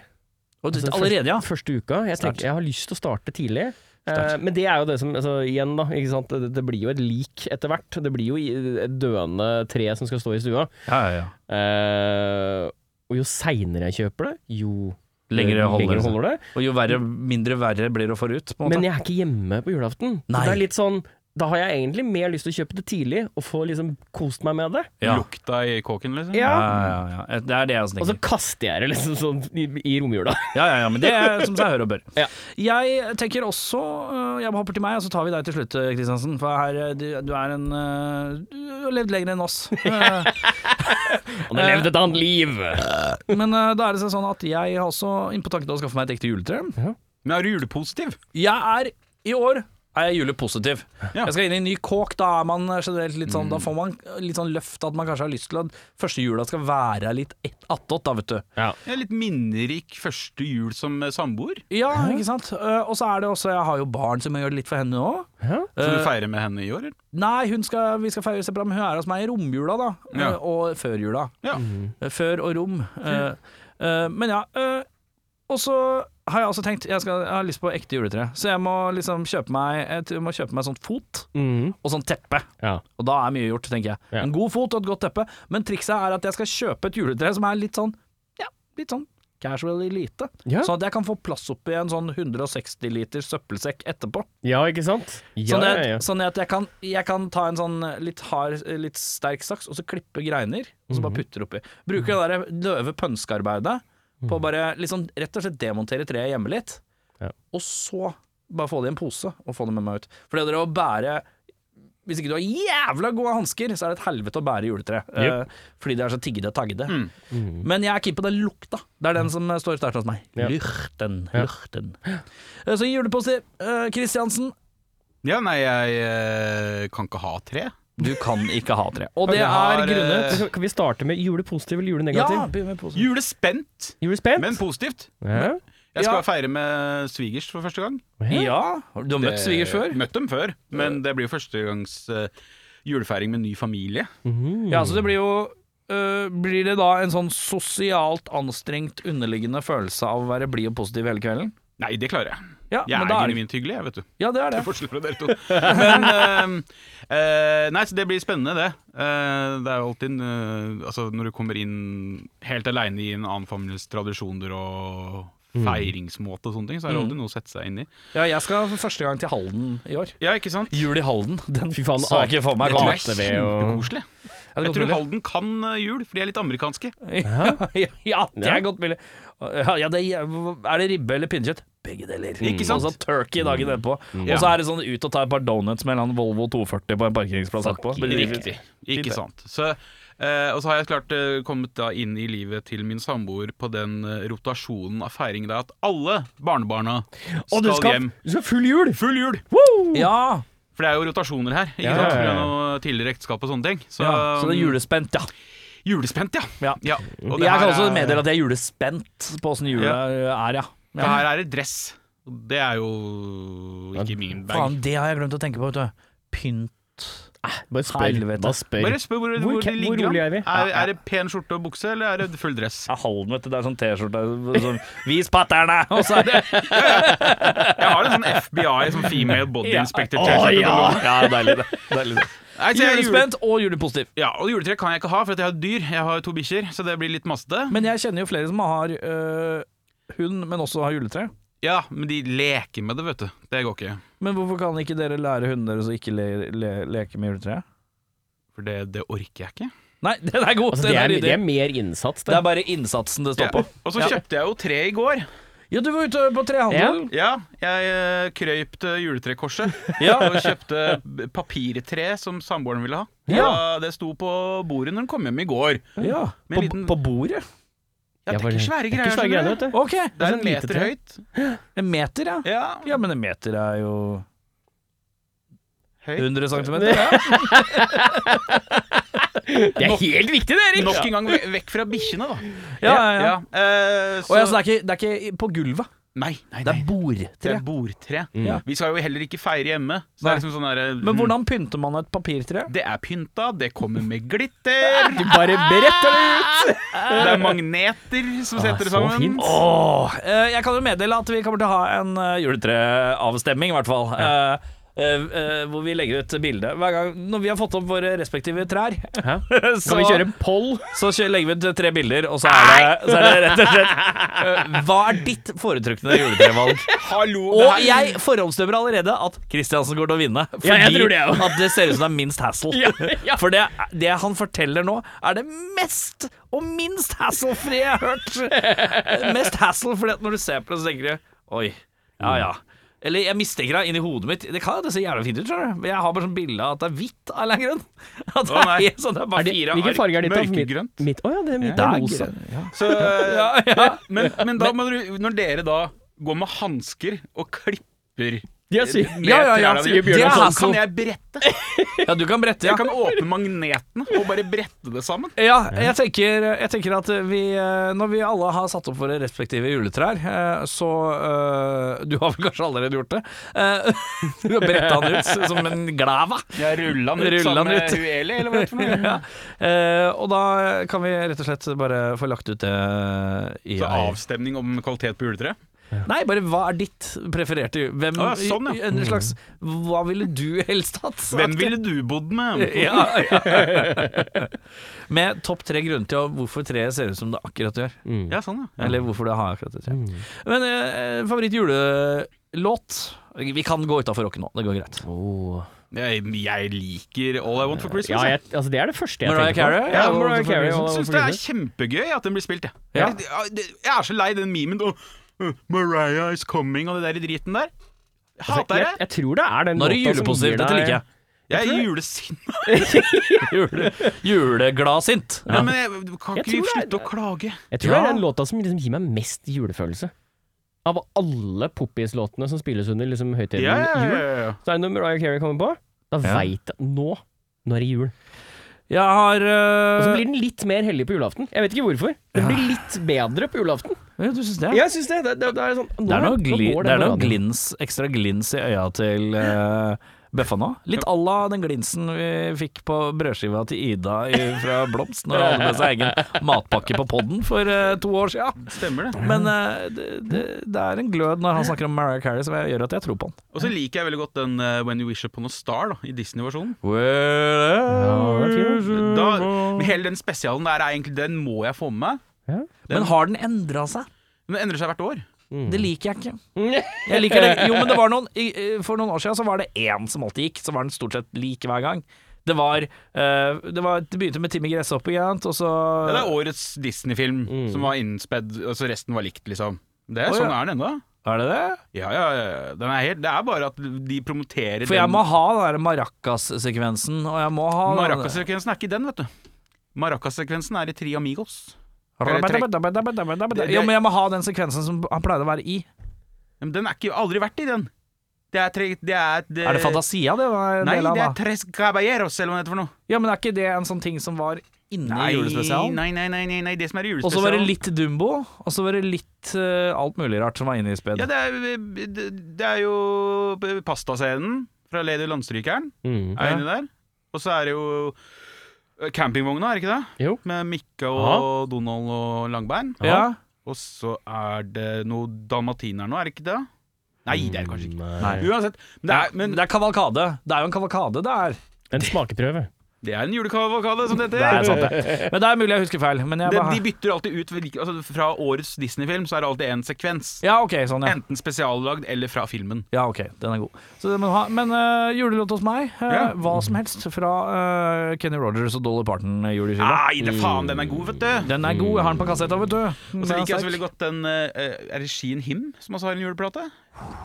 A: Og du,
D: Altså,
A: allerede, ja.
D: Første uka. Jeg,
A: Sterkt.
D: tenker, jeg har lyst til å starte tidlig. Eh, men det er jo det som altså, Igjen, da. Ikke sant? Det, det blir jo et lik etter hvert. Det blir jo i- et døende tre som skal stå i stua.
A: Ja, ja, ja.
D: Eh, og jo seinere jeg kjøper det, jo eh,
A: Lengre holder det.
D: det.
A: Og jo verre, mindre verre blir det å få ut, på en
D: Men
A: måte.
D: jeg er ikke hjemme på julaften. Så
A: Nei.
D: Det er litt sånn da har jeg egentlig mer lyst til å kjøpe det tidlig og få liksom kost meg med det.
A: Ja.
C: Lukta i kåken, liksom?
A: Ja, ja, ja, ja. Det er det jeg også
D: Og så
A: tenker.
D: kaster jeg det liksom sånn i, i romjula.
A: Ja, ja, ja, men det er som seg hør og bør.
D: Ja.
A: Jeg tenker også øh, Jeg hopper til meg, og så tar vi deg til slutt, øh, Kristiansen. For her, øh, du, du er en øh, Du har levd lenger enn oss. Eh,
D: Han har levd et annet liv!
A: Men øh, da er det sånn at jeg har også inn på tanken å skaffe meg et ekte juletre.
C: Men er du julepositiv?
A: Jeg er i år er jeg julepositiv.
C: Ja.
A: Jeg skal inn i en ny kåk. Da er man generelt litt sånn Da
D: Mm.
A: får man litt sånn løft at man kanskje har lyst til at første jula skal være litt ett- attåt, da, vet du.
C: Jeg er litt minnerik første jul som eh, samboer.
A: Ja, ikke sant? Eh, og så er det også Jeg har jo barn, som jeg gjør det litt for henne òg.
C: Som
A: Eh.
C: du feirer med henne i år, eller?
A: Nei, hun skal, vi skal feire separat, men hun er hos meg i romjula, da. eh,
C: Ja.
A: Og før jula.
C: Ja.
A: Eh, Før og rom. Eh, eh, men ja. eh, og så har jeg også tenkt jeg, skal, jeg har lyst på ekte juletre, så jeg må liksom kjøpe meg Jeg tror jeg må kjøpe meg sånn fot
D: Mm.
A: og sånn teppe.
D: Ja.
A: Og da er mye gjort, tenker jeg.
D: Ja.
A: En god fot og et godt teppe. Men trikset er at jeg skal kjøpe et juletre som er litt sånn ja, litt sånn casual lite.
D: Ja.
A: Sånn at jeg kan få plass oppi en sånn 160 liters søppelsekk etterpå.
D: ja, ikke sant? Ja,
A: Sånn at,
D: ja, ja.
A: sånn at jeg, kan, jeg kan ta en sånn litt hard, litt sterk saks, og så klippe greiner, og så bare
D: Mhm.
A: putter oppi. Bruker det derre døve pønskearbeidet på å bare liksom rett og slett demontere treet hjemme litt,
D: Mhm. Ja.
A: og så bare få det i en pose og få det med meg ut. For det der å bære Hvis ikke du har jævla gode hansker, så er det et helvete å bære juletre.
D: Jep. Mhm.
A: Eh, fordi det er så tiggede taggede. Men jeg er keen på den lukta. Det er den som eh, står sterkt hos meg.
D: Ja.
A: Lukten,
D: Ja.
A: lukten. Eh, Så julepositiv. Kristiansen,
C: Ja, nei, jeg eh, kan ikke ha tre.
A: du kan ikke ha tre. Og
C: Men
A: det
C: jeg har,
A: er grunnet
C: eh,
D: Så Kan vi starte med julepositiv eller
A: Ja,
D: julenegativ?
A: begynn med posen.
C: Julespent,
D: Julespent?
C: men positivt.
D: Ja.
C: Jeg skal
A: Ja.
C: feire med svigers for første gang.
A: Ja, du har møtt
C: Det-
A: svigers før?
C: Møtt dem før, men det blir jo første gangs eh, julefeiring med ny familie. Mm.
A: Ja, så det blir jo øh, Blir det da en sånn sosialt anstrengt underliggende følelse av å være blid og positiv hele kvelden?
C: Nei, det klarer jeg.
A: Ja,
C: Jeg er
A: men da er det-
C: genuint hyggelig, jeg, vet du.
A: Ja, det er det.
C: Til forskjell fra dere to. Men eh, eh, Nei, så det blir spennende, det. Eh, det er jo alltid en, eh, Altså, når du kommer inn helt aleine i en annen families tradisjoner og
D: Mm.
C: feiringsmåte og sånne ting, så er det alltid noe å sette seg inn i.
A: Ja, jeg skal for første gang til Halden i år.
C: Ja, ikke sant?
A: Jul i Halden. Den
D: Fy faen,
A: sa jeg ikke for meg.
D: det tror jeg
A: komme.
D: er kjempegodt.
C: Koselig.
A: Ja, det er
C: Jeg
A: godt
C: tror
A: mulig.
C: Halden kan eh, jul, for de er litt amerikanske.
A: ja, ja, det er godt mulig. Ja, ja, det er, er det ribbe eller pinnekjøtt? Begge deler.
C: Ikke sant?
A: Mm. Og så turkey dagen etterpå. Og så er det sånn ut og ta et par donuts med en eller annen Volvo 240 på en parkeringsplass etterpå.
D: yeah.
A: Blir det-
C: Riktig. Ikke sant. Så, eh, og så har jeg klart eh, kommet da inn i livet til min samboer på den eh, rotasjonen av feiring da at alle barnebarna
D: Og du
C: skal,
D: skal,
C: hjem.
D: du skal full jul!
C: Full jul!
A: Mm. Ja,
C: For det er jo rotasjoner her. Ikke
A: Ja,
C: sant?
A: ja, ja.
C: På grunn av tidligere ekteskap og sånne ting. Så, mm,
A: ja. Så det er julespent, ja.
C: julespent, ja.
A: Um, Ja.
C: Og det
A: Jeg
C: her
A: kan også
C: er-
A: meddele at jeg er altså julespent på åssen jula er, ja.
C: for Her er det dress. Og Det er jo ikke min bag.
A: Faen, det har jeg glemt å tenke på, vet du. Pynt
D: Bare spør.
A: Helvete.
D: Bare spør.
C: Bare spør hvor,
D: Hvor
C: hvor,
D: ke-
C: det
D: hvor
C: ligger
D: rolig er
C: an.
D: vi?
C: Er, er det pen skjorte og bukse, eller er det full dress?
A: Ja, Halden, vet du. Det er sånn T-skjorte sånn, Vis patterne! Og så er det
C: Jeg har en sånn FBI, sånn female body
A: Ja.
C: inspector.
A: Å,
C: t-shirt.
A: ja. ja, deilig, det. deilig det.
C: Nei, så jeg er jule-
A: Julespent og julepositiv.
C: Ja, og juletre kan jeg ikke ha, for at jeg har dyr. Jeg har to bikkjer, så det blir litt masete.
A: Men jeg kjenner jo flere som har øh, hund, men også har juletre.
C: Ja, men de leker med det, vet du. Det går ikke.
A: Men hvorfor kan ikke dere lære hundene deres å ikke le, le, leke med juletre?
C: For det, det orker jeg ikke.
A: Nei, den er god!
D: Altså,
A: den
D: det, er,
A: er, ryddig.
D: det er mer innsats,
A: det
D: det.
A: er bare innsatsen det står på.
C: Og så kjøpte jeg jo tre i går.
A: Ja, du var ute på trehandel.
C: Ja, jeg eh, krøyp til juletrekorset og kjøpte b- papirtre som samboeren ville ha.
A: Ja.
C: Og Det sto på bordet når hun kom hjem i går.
A: Ja,
C: Med
A: På,
C: en liten-
A: på bordet.
C: Ja, det er ikke svære
D: Det er
C: greier.
D: ikke svære greier,
C: skjønner du.
D: vet du.
A: Ok,
C: Det er en
D: Det er så lite
C: meter
D: tre.
C: høyt.
A: en meter, ja.
C: Ja,
A: Ja, men en meter er jo
C: høyt.
A: 100 cm. Ja.
D: Det er helt riktig, det, Erik!
C: Nok en gang ve- vekk fra bikkjene, da.
A: Ja, ja, ja.
C: eh,
A: Og ja, så det er, ikke, det er ikke på gulvet,
C: Nei, nei, nei.
A: det er
C: Det
A: bordtre.
C: er bordtre.
D: Ja.
C: Vi skal jo heller ikke feire hjemme. Så det
A: Nei.
C: er liksom sånn der,
A: Men hvordan pynter man et papirtre?
C: Det er pynta, det kommer med glitter,
D: Du bare bretter det ut!
C: det er magneter som setter det
D: så
C: sammen.
D: fint.
A: Åh, eh, jeg kan jo meddele at vi kommer til å ha en eh, juletreavstemning, i hvert fall. Eh, eh, eh, hvor vi legger ut bilde hver gang når vi har fått opp våre respektive trær. så,
D: Kan vi kjøre en poll?
A: så kjø- legger vi ut tre bilder, og så er det, så er det rett og slett eh, Hva er ditt foretrukne juletrevalg?
C: Hallo,
A: Og jeg forhåndsdømmer allerede at Kristiansen går til å vinne. Fordi
D: Ja, jeg tror det jeg også.
A: at det ser ut som det er minst hassle. For det, det han forteller nå, er det mest og minst hasslefrie jeg har hørt. Mest hassle, fordi at når du ser på det, så tenker du Oi, ja ja.
D: Mm.
A: Eller jeg mistenker deg inni hodet mitt. Det kan det ser jævlig fint ut, skjønner du. Men jeg har bare sånn bilde av at det er hvitt av en eller annen grunn. At det
C: Å, nei.
A: er helt sånn, det er
D: Er
A: bare
D: det,
A: fire
D: hvilken
A: ark.
D: farge er ditt? da?
C: Mørkegrønt.
D: Mitt, mitt, å ja, det er mitt
A: Det
D: er
A: er
D: rosa.
A: grønn, ja.
C: Så, eh,
A: Ja, ja.
C: Men, men da må dere, når dere da går med hansker og klipper
D: Ja, sier-
C: med
A: Ja, ja, ja,
C: trærne
A: sier
C: dine,
A: Bjørnar
C: da
A: Hansson.
C: kan jeg brette.
A: ja, du kan brette, ja.
C: Jeg kan åpne magnetene og bare brette det sammen.
A: Ja, jeg tenker, jeg tenker at vi eh, Når vi alle har satt opp våre respektive juletrær, eh, så eh, Du har vel kanskje allerede gjort det? Eh, Du har bretta han ut som en glava.
C: Jeg rulla den ut
A: Rulla
C: sammen
A: den
C: med
A: ut.
C: Hueli, eller hva det er for noe.
A: Ja. Eh, Og da kan vi rett og slett bare få lagt ut det eh, i
C: Så avstemning om kvalitet på juletre.
A: Nei, bare hva er ditt prefererte jul- Hvem
C: Å, ja, sånn, ja.
A: En slags Hva ville du helst hatt?
C: Hvem ville du bodd med?
A: ja, ja. Med topp tre grunner til hvorfor treet ser ut som det akkurat gjør.
C: Ja, sånn, ja.
A: Eller hvorfor det har jeg akkurat det. tror jeg.
D: Mm.
A: Men eh, favorittjulelåt Vi kan gå utafor rocken nå, det går greit.
D: Åh.
C: Jeg, jeg liker All I Want for Christmas.
D: Ja,
C: jeg.
D: jeg, altså, det er det første jeg
A: Mariah
D: tenker på.
A: Carey?
D: Ja,
A: Ja,
D: Mariah Carey.
A: selvfølgelig.
D: og- og-
C: Jeg syns det er kjempegøy at den blir spilt, jeg.
A: Ja.
C: Jeg, jeg. jeg er så lei den memen og uh, Mariah is coming og det der i driten der. Jeg
D: Altså,
C: Hater
D: jeg,
C: det.
D: jeg tror det er den
A: Nå er det
D: låta som
A: julepositiv,
D: gir
A: dette
D: deg-
A: liker jeg.
C: Jeg er julesinna.
A: Jule, Juleglad-sint.
C: Ja. Men jeg, kan
D: Jeg
C: ikke vi
D: tror det er-
C: slutte å klage?
D: Jeg tror det
A: Ja.
D: er den låta som liksom gir meg mest julefølelse. Av alle poppis-låtene som spilles under liksom høytiden
C: Ja, ja,
D: jul,
C: ja, ja.
D: så er det når Mariah Carey kommer på, da
A: Ja.
D: veit jeg nå nå er det jul.
A: Jeg har
D: Og så
A: eh,
D: blir den litt mer hellig på julaften. Jeg vet ikke hvorfor. Den blir litt bedre på julaften.
A: ja, Du syns det?
D: Jeg syns det. Det, det, det er sånn nå-
A: Det er noe,
D: nå
A: gli,
D: går
A: det er
D: den
A: noe
D: radioen.
A: glins, ekstra glins i øya til eh, bøffa nå. Litt à la den glinsen vi fikk på brødskiva til Ida i- fra Blomst når hun hadde med seg egen matpakke på podden for eh, to år sia.
C: Stemmer det.
A: Men eh, det, det, det er en glød når han snakker om Mariah Carey som gjør at jeg tror på han.
C: Og så liker jeg veldig godt den eh, When You Wish Upon a Star da, i Disney-versjonen.
D: Ja, det er fint, da.
C: Da, men hele den spesialen der er egentlig Den må jeg få med meg.
A: Men har den endra seg?
C: Den endrer seg hvert år.
A: Det liker jeg ikke. Jeg liker det. Jo, men det var noen i- i- For noen år siden så var det én som alltid gikk, så var den stort sett lik hver gang. Det var, eh, det, var det begynte med Timmy Gresshoppe, ikke sant, og så
C: Ja, det er årets Disney-film som var innspedd, og så resten var likt, liksom. Det er
A: Å,
C: sånn
A: ja.
C: er den ennå.
A: Er det det?
C: Ja, ja, ja. Den er helt, det er bare at de promoterer
A: For jeg
C: den.
A: må ha den der maracas-sekvensen, og jeg må ha den-
C: Maracas-sekvensen er ikke den, vet du. Maracas-sekvensen er i Tri Amigos.
A: Jo, men jeg må ha den sekvensen som han pleide å være i.
C: Ja, Men den er ikke, aldri vært i den. Det er, tre, det er, det,
A: Er det Fantasia, det? Var en
C: Eh, Nei,
A: del av,
C: det er
A: da?
C: Tres Caballeros, eller hva det heter for noe.
A: Ja, men er ikke det en sånn ting som var inne i julespesialen?
C: nei, nei, nei, nei, nei, det som er i
A: Og så
C: julespesialen.
A: var det litt Dumbo, og så var det litt eh, alt mulig rart som var inne i
C: Ja,
A: spedet.
C: det er, det, det er jo pastascenen fra Lady Landstrykeren.
D: Mm.
C: Er inni der. Og så er det jo eh, campingvogna, er det ikke det?
D: Jo.
C: Med Mikke og Donald og Langbein.
A: Ja.
C: Og så er det noe dalmatiner nå, er det ikke det? Nei, det er det
A: Mm,
C: kanskje ikke.
D: Nei.
C: Uansett. Men det er, men
A: det er kavalkade. Det er jo en kavalkade, det er.
D: En smakeprøve.
C: det er en julekavokade, som det heter.
A: Det er sånn sant, det. Men det er mulig jeg husker feil. Men jeg
C: Det,
A: bare...
C: de bytter alltid ut ved- altså, Fra årets Disney-film så er det alltid en sekvens.
A: Ja, ok, sånn, ja.
C: Enten spesiallagd eller fra filmen.
A: Ja, ok, den er god. Så det må du ha. Men uh, julelåt hos meg, eh,
C: Ja.
A: hva som helst fra eh, Kenny Rogers og Dolly Parton eh, juleskiva.
C: Nei, det faen, den er god, vet du!
A: Den er god, jeg har den på kassetta, vet du.
C: Ah. Og
A: Den
C: så
A: er
C: liker jeg så
A: sterk.
C: veldig godt den eh, Er det Sheen Him som også har en juleplate?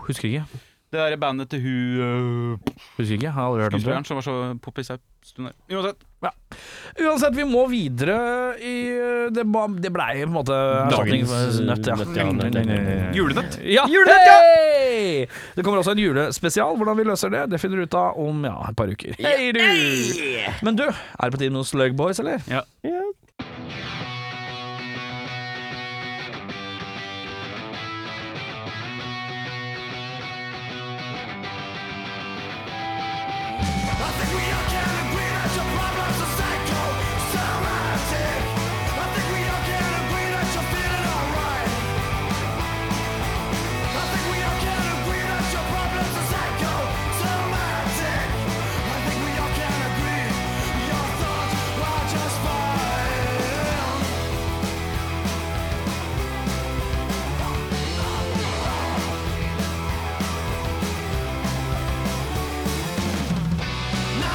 A: Husker ikke.
C: Det derre bandet til hun eh,
A: Husker ikke, jeg har aldri hørt om det.
C: skuespilleren som var så poppis her stund her. Uansett.
A: Uansett, vi må videre i eh, Det, ba- det blei på en måte erstatning for nøtt, ja.
D: nøtt, ja, nøtt, ja, nøtt,
C: Julenøtt.
A: Ja,
D: Julenøtt, ja!
A: Hei! Det kommer også en julespesial. Hvordan vi løser det, det finner du ut av om ja, et par uker. Hei, du! Men du, er det på tide med noen Slug Boys, eller?
D: Ja.
G: Now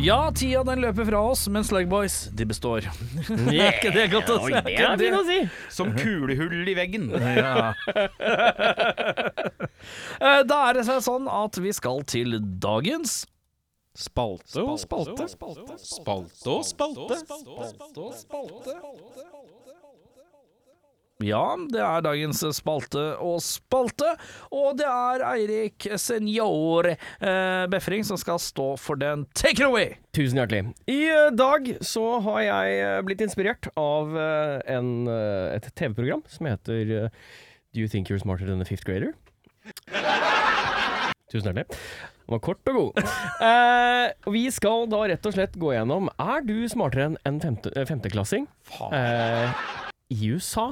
A: Ja, tida den løper fra oss, men Slugboys, de består. er ikke det godt å si?
D: Oi, det er fint å si!
C: Som kulehull i veggen.
A: Eh, Da er det seg sånn at vi skal til dagens
H: Spalte og spalte. Spalte og spalte.
A: Ja, det er dagens spalte og spalte, og det er Eirik Senior eh, Befring som skal stå for den. Take it away!
D: Tusen hjertelig. I eh, dag så har jeg eh, blitt inspirert av eh, en, eh, et TV-program som heter eh, Do you think you're smarter than a fifth grader? Tusen hjertelig. Den var kort og god. Eh, og vi skal da rett og slett gå gjennom Er du smartere enn en femte, eh, femteklassing eh, i USA?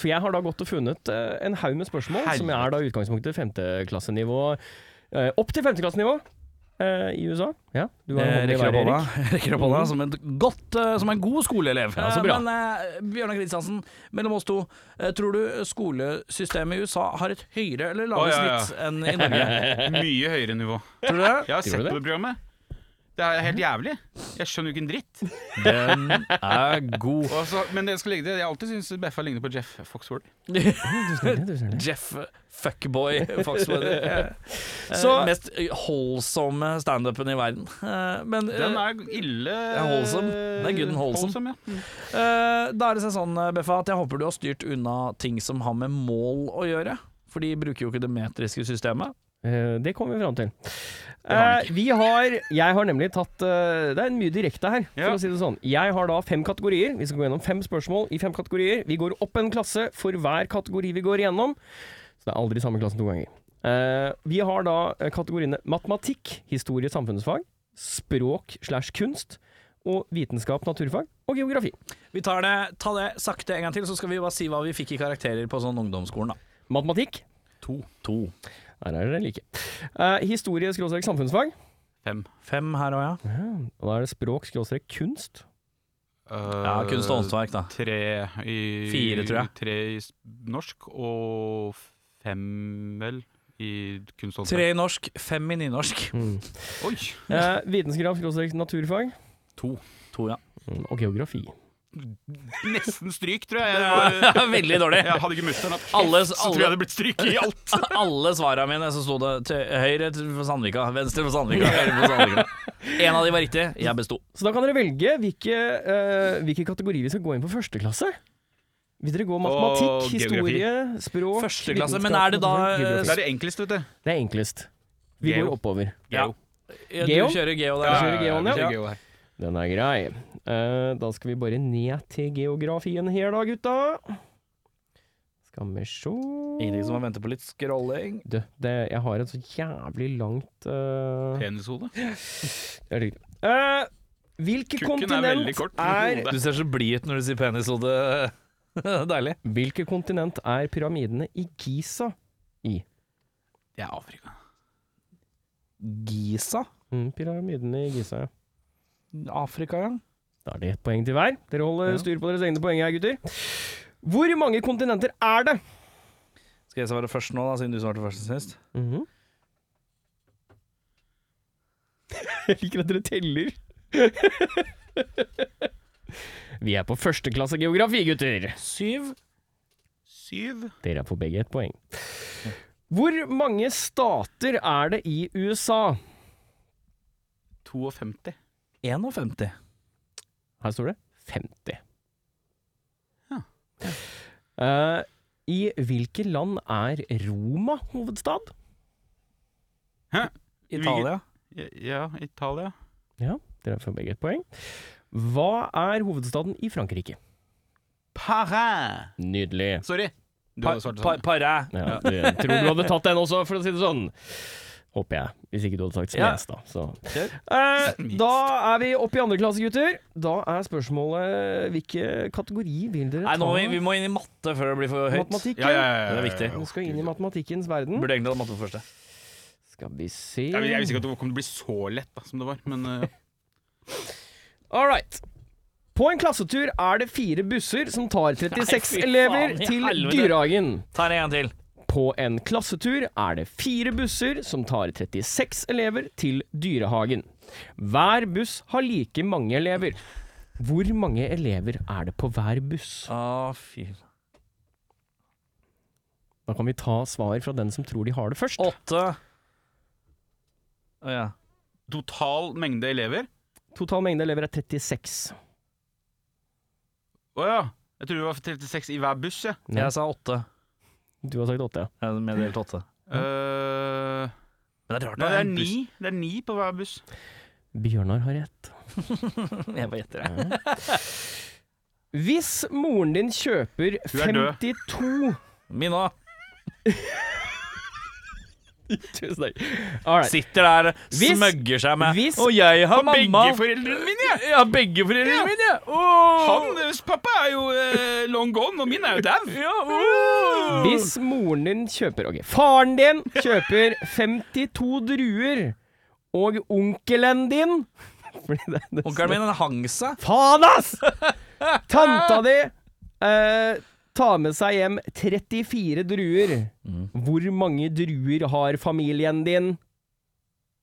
D: For jeg har da gått og funnet eh, en haug med spørsmål som er da i utgangspunktet femteklassenivå eh, Opp til femteklassenivå eh, i USA. Ja, du har en hånd i
A: Eh, rekker opp
D: været,
A: hånda,
D: Erik.
A: rekker opp hånda som, en godt, eh, som en god skoleelev.
D: Ja, så bra.
A: Mm. Eh, Men eh, Bjørnar Kristiansen, mellom oss to, eh, tror du skolesystemet i USA har et høyere eller
C: Å,
A: lavere
C: ja, ja.
A: snitt enn i Norge?
C: Mye høyere nivå.
A: Tror du det?
C: Jeg har sett
D: du
C: på
D: det?
C: det programmet. Det er helt jævlig. Jeg skjønner jo ikke en dritt.
A: Den er god.
C: Og så- men jeg skal legge til, jeg alltid syns Beffa ligner på Jeff Foxworth.
A: Jeff Fuckboy Foxworthy. Så
D: Så-
A: Mest holdsomme standupen i verden. Eh, Men eh,
C: Den er ille
A: er wholesome. Den er good and
C: ja.
A: wholesome. eh, da er det seg sånn, eh, Beffa, at jeg håper du har styrt unna ting som har med mål å gjøre. For de bruker jo ikke det metriske systemet.
D: Eh, det kommer vi fram til. Eh, vi har Jeg har nemlig tatt eh, Det er mye direkte her, for
C: Ja.
D: å si det sånn. Jeg har da fem kategorier. Vi skal gå gjennom fem spørsmål i fem kategorier. Vi går opp en klasse for hver kategori vi går gjennom. Så det er aldri samme klassen to ganger. Eh, vi har da eh, kategoriene matematikk, historie, samfunnsfag, språk slash kunst, og vitenskap, naturfag og geografi.
A: Vi tar det, ta det sakte en gang til, så skal vi bare si hva vi fikk i karakterer på sånn ungdomsskolen. da
D: Matematikk,
A: To. to.
D: her er dere like. Eh, historie, skråstrek, samfunnsfag.
C: Fem.
A: Fem her òg, ja.
D: Og da er det språk, skråstrek, kunst.
A: ja. Kunst
C: øh,
A: og håndverk, da.
C: Tre i
A: Fire, tror jeg.
C: Tre i s- norsk og fem, vel, i kunst og
A: Tre
C: håndverk.
A: i norsk, fem i nynorsk.
C: Oi!
D: Eh, vitenskap, skråstrek, naturfag.
A: To, ja.
D: Mm, Og geografi.
C: Nesten stryk, tror jeg. Jeg, var-
A: Veldig dårlig.
C: jeg hadde ikke mutter'n hatt kjeft,
A: Alle,
C: så tror jeg det hadde blitt stryk i alt.
A: Alle svarene mine så sto det til høyre til- for Sandvika, venstre for Sandvika, høyre for Sandvika. En av de var riktig, jeg besto.
D: Så da kan dere velge hvilke, eh, hvilke kategorier vi skal gå inn på første klasse. Vil dere gå matematikk,
C: Og geografi.
D: historie, språk
A: Første klasse,
D: vitenskap,
A: men er det da, eh,
D: naturfag,
C: Det er
D: geografi?
C: det enkleste, vet du.
D: Det er enklest. Vi
C: Geo.
D: går oppover.
A: Ja. Ja,
D: Geo?
A: Du kjører geo der.
D: Ja, kjører geoen, ja.
C: kjører geo her.
D: Den er grei. Eh, da skal vi bare ned til geografien her da, gutta. Skal vi sjå
A: Ingenting som å vente på litt scrolling.
D: Du, det, jeg har et så jævlig langt eh,
C: Penishode.
D: Det er riktig. Eh, hvilke
C: Kukken er veldig
D: kontinent
C: kort.
D: er
C: men hodet-
A: Du ser så blid ut når du sier penishode. Deilig.
D: Hvilke kontinent er pyramidene i Giza?
C: Det er Afrika.
A: Giza?
D: Mm, pyramidene i Giza, ja.
A: Afrika, ja.
D: Da er det ett poeng til hver. Dere holder styr på deres egne poeng her, gutter. Hvor mange kontinenter er det?
A: Skal jeg svare først nå, da, siden du svarte først sist?
D: Jeg liker at dere teller. Vi er på førsteklasse geografi, gutter.
A: Syv.
C: Syv.
D: Dere er på begge ett poeng. Hvor mange stater er det i USA?
C: 52.
A: 51.
D: Her står det 50.
C: Ja.
D: Eh, I hvilke land er Roma hovedstad?
A: Italia.
C: Ja, Italia.
D: Dere får begge et poeng. Hva er hovedstaden i Frankrike?
C: Paris.
D: Nydelig.
C: Sorry. Du
A: Pa-
C: hadde svart det
A: pa-
C: samme.
A: Paré.
D: Ja, det, jeg tror du hadde tatt den også, for å si det sånn. Håper jeg. Hvis ikke du hadde sagt
A: Ja.
D: Snes, da. Så.
A: Kjør.
D: Eh, da er vi oppe i andre klasse, gutter. Da er spørsmålet hvilken kategori vil dere ta?
A: Nei, nå, må vi, vi må inn i matte før det blir for høyt.
D: Matematikken.
C: Ja, ja, ja, ja,
A: Det er viktig.
C: ja, ja.
D: Vi skal inn i matematikkens verden.
A: Burde egentlig hatt matte på første.
D: Skal vi se
C: Jeg, jeg visste ikke at det kom til å bli så lett da, som det var, men eh,
D: All right. På en klassetur er det fire busser som tar 36 elever
A: faen i
D: til
A: helvete.
D: Dyrehagen.
A: Ta det en gang til.
D: På en klassetur er det fire busser som tar 36 elever til Dyrehagen. Hver buss har like mange elever. Hvor mange elever er det på hver buss?
A: Ah, fy.
D: Da kan vi ta svar fra den som tror de har det først.
A: Åtte. Å ja.
C: Total mengde elever?
D: Total mengde elever er 36.
C: Å ja. Jeg tror det var 36 i hver buss, jeg.
D: Nei.
A: Jeg sa åtte.
D: Du har sagt åtte, ja.
A: Jeg meddelt åtte.
C: Eh,
A: Men det er rart
C: nei, det er
A: en buss.
C: ni. Det er ni på hver buss.
D: Bjørnar har rett.
A: Jeg bare gjetter det.
D: Hvis moren din kjøper
C: Hun er død.
D: 52
A: Min òg.
D: Tusen takk. All right.
A: Sitter der,
D: Hvis-
A: smøgger seg med
D: hvis-
A: Og jeg har mamma.
C: Begge foreldrene mine, jeg!
A: Ja, begge foreldrene
C: Ja.
A: mine! Åh.
C: Hans pappa er jo eh, long gone, og min er jo dau.
A: Ja, åh.
D: Hvis moren din kjøper Ok, faren din kjøper 52 druer, og onkelen din Fordi det, det
A: Onkelen min han hang seg.
D: Faen, ass! Tanta di eh, tar med seg hjem 34 druer.
A: Mm.
D: Hvor mange druer har familien din?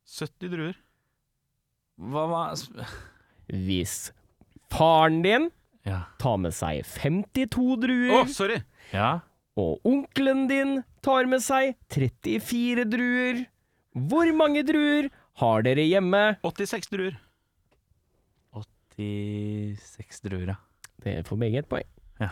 C: 70 druer.
A: Hva var
D: Hvis faren din
A: Ja.
D: tar med seg 52
C: Å,
D: druer,
C: sorry.
A: ja.
D: og onkelen din tar med seg 34 druer, hvor mange druer har dere hjemme?
C: 86 druer.
A: 86 druer, ja.
D: Det får begge et poeng.
A: Ja.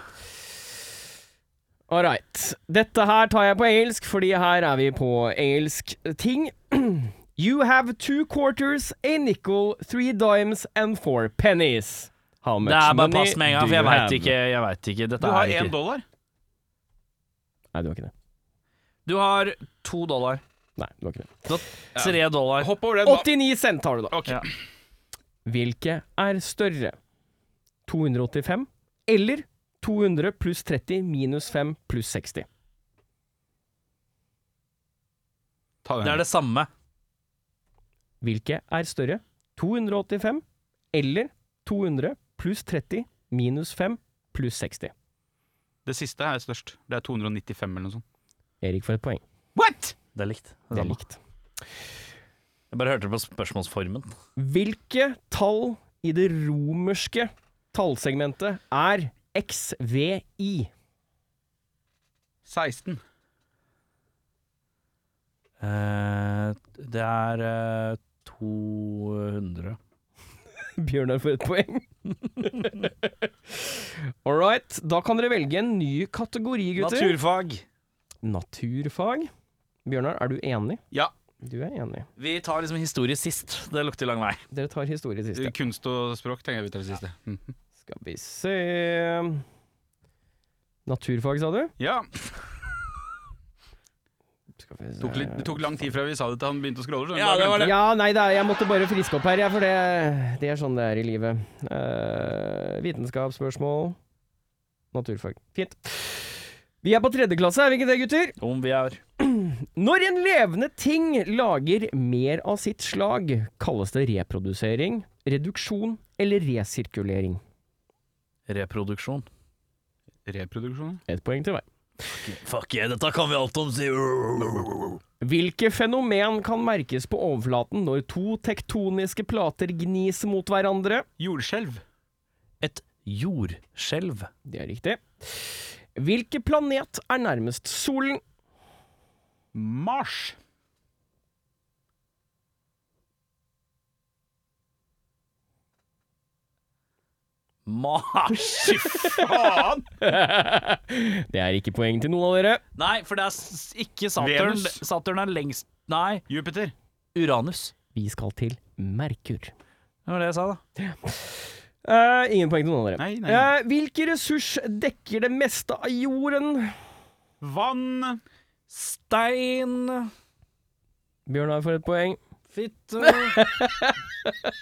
D: All right. Dette her tar jeg på engelsk, fordi her er vi på engelsk ting. You have two quarters, a nickel, three dimes and four pennies. How much
A: Det er bare
D: money
A: pass med en gang,
D: do
A: for jeg
D: you
A: veit
D: have?
A: ikke. Jeg vet ikke.
C: Du
A: Dette
C: har
A: er
C: én
A: ikke
C: dollar.
D: Nei, du har ikke det.
A: Du har to dollar.
D: Nei, du har ikke det.
A: Tre dollar.
C: Hopp over den. da.
D: 89 cent har du, da.
C: Ok.
A: Ja.
D: Hvilke er større? 285 eller 200 pluss 30 minus 5 pluss 60?
C: Ta den.
A: Det er det samme.
D: Hvilke er større? 285 eller 200 pluss 30 minus 5 pluss 60?
C: Det siste er størst. Det er 295 eller noe sånt.
D: Erik får et poeng.
C: What?!
A: Det er likt.
D: Det er likt.
A: Jeg bare hørte det på spørsmålsformen.
D: Hvilke tall i det romerske tallsegmentet er XVI?
C: 16.
A: Eh, det er eh, 200
D: Bjørnar får et poeng. All right, da kan dere velge en ny kategori, gutter.
A: Naturfag.
D: Naturfag. Bjørnar, er du enig?
C: Ja.
D: Du er enig.
A: Vi tar liksom historie sist. Det lukter lang vei.
D: Dere tar historie sist. ja.
C: Kunst og språk tenker jeg vi tar det siste. Mm.
D: Skal vi se Naturfag, sa du?
C: Ja.
D: Skal vi se.
C: Tok litt, det tok lang tid fra vi sa det til han begynte å scrolle. skjønner du?
A: Ja,
C: Da
A: det var
C: glemte
A: det.
D: Ja, nei, det er, jeg måtte bare friske opp her, jeg, for det, det er sånn det er i livet. Eh, vitenskapsspørsmål. Naturfag. Fint. Vi er på tredje klasse, er vi ikke det, gutter?
A: Om vi er
D: Når en levende ting lager mer av sitt slag, kalles det reprodusering, reduksjon eller resirkulering.
A: reproduksjon.
C: jeg. Reproduksjon?
D: Et poeng til hver.
A: Fuck yeah, dette kan vi alt om, si.
D: Hvilke fenomen kan merkes på overflaten når to tektoniske plater gnis mot hverandre?
C: Jordskjelv.
A: Et jordskjelv.
D: Det er riktig. Hvilken planet er nærmest solen?
C: Mars.
A: Mars.
C: Faen!
D: Det er ikke poeng til noen av dere.
A: Nei, for det er s- ikke Saturn.
C: Venus.
A: Saturn er lengst Nei,
C: Jupiter.
A: Uranus.
D: Vi skal til Merkur.
A: Det var det jeg sa, da.
D: Eh, ingen poeng til noen av dere.
C: Nei, nei.
D: Eh, hvilken ressurs dekker det meste av jorden?
C: Vann.
A: Stein
D: Bjørnar får et poeng.
A: Fitte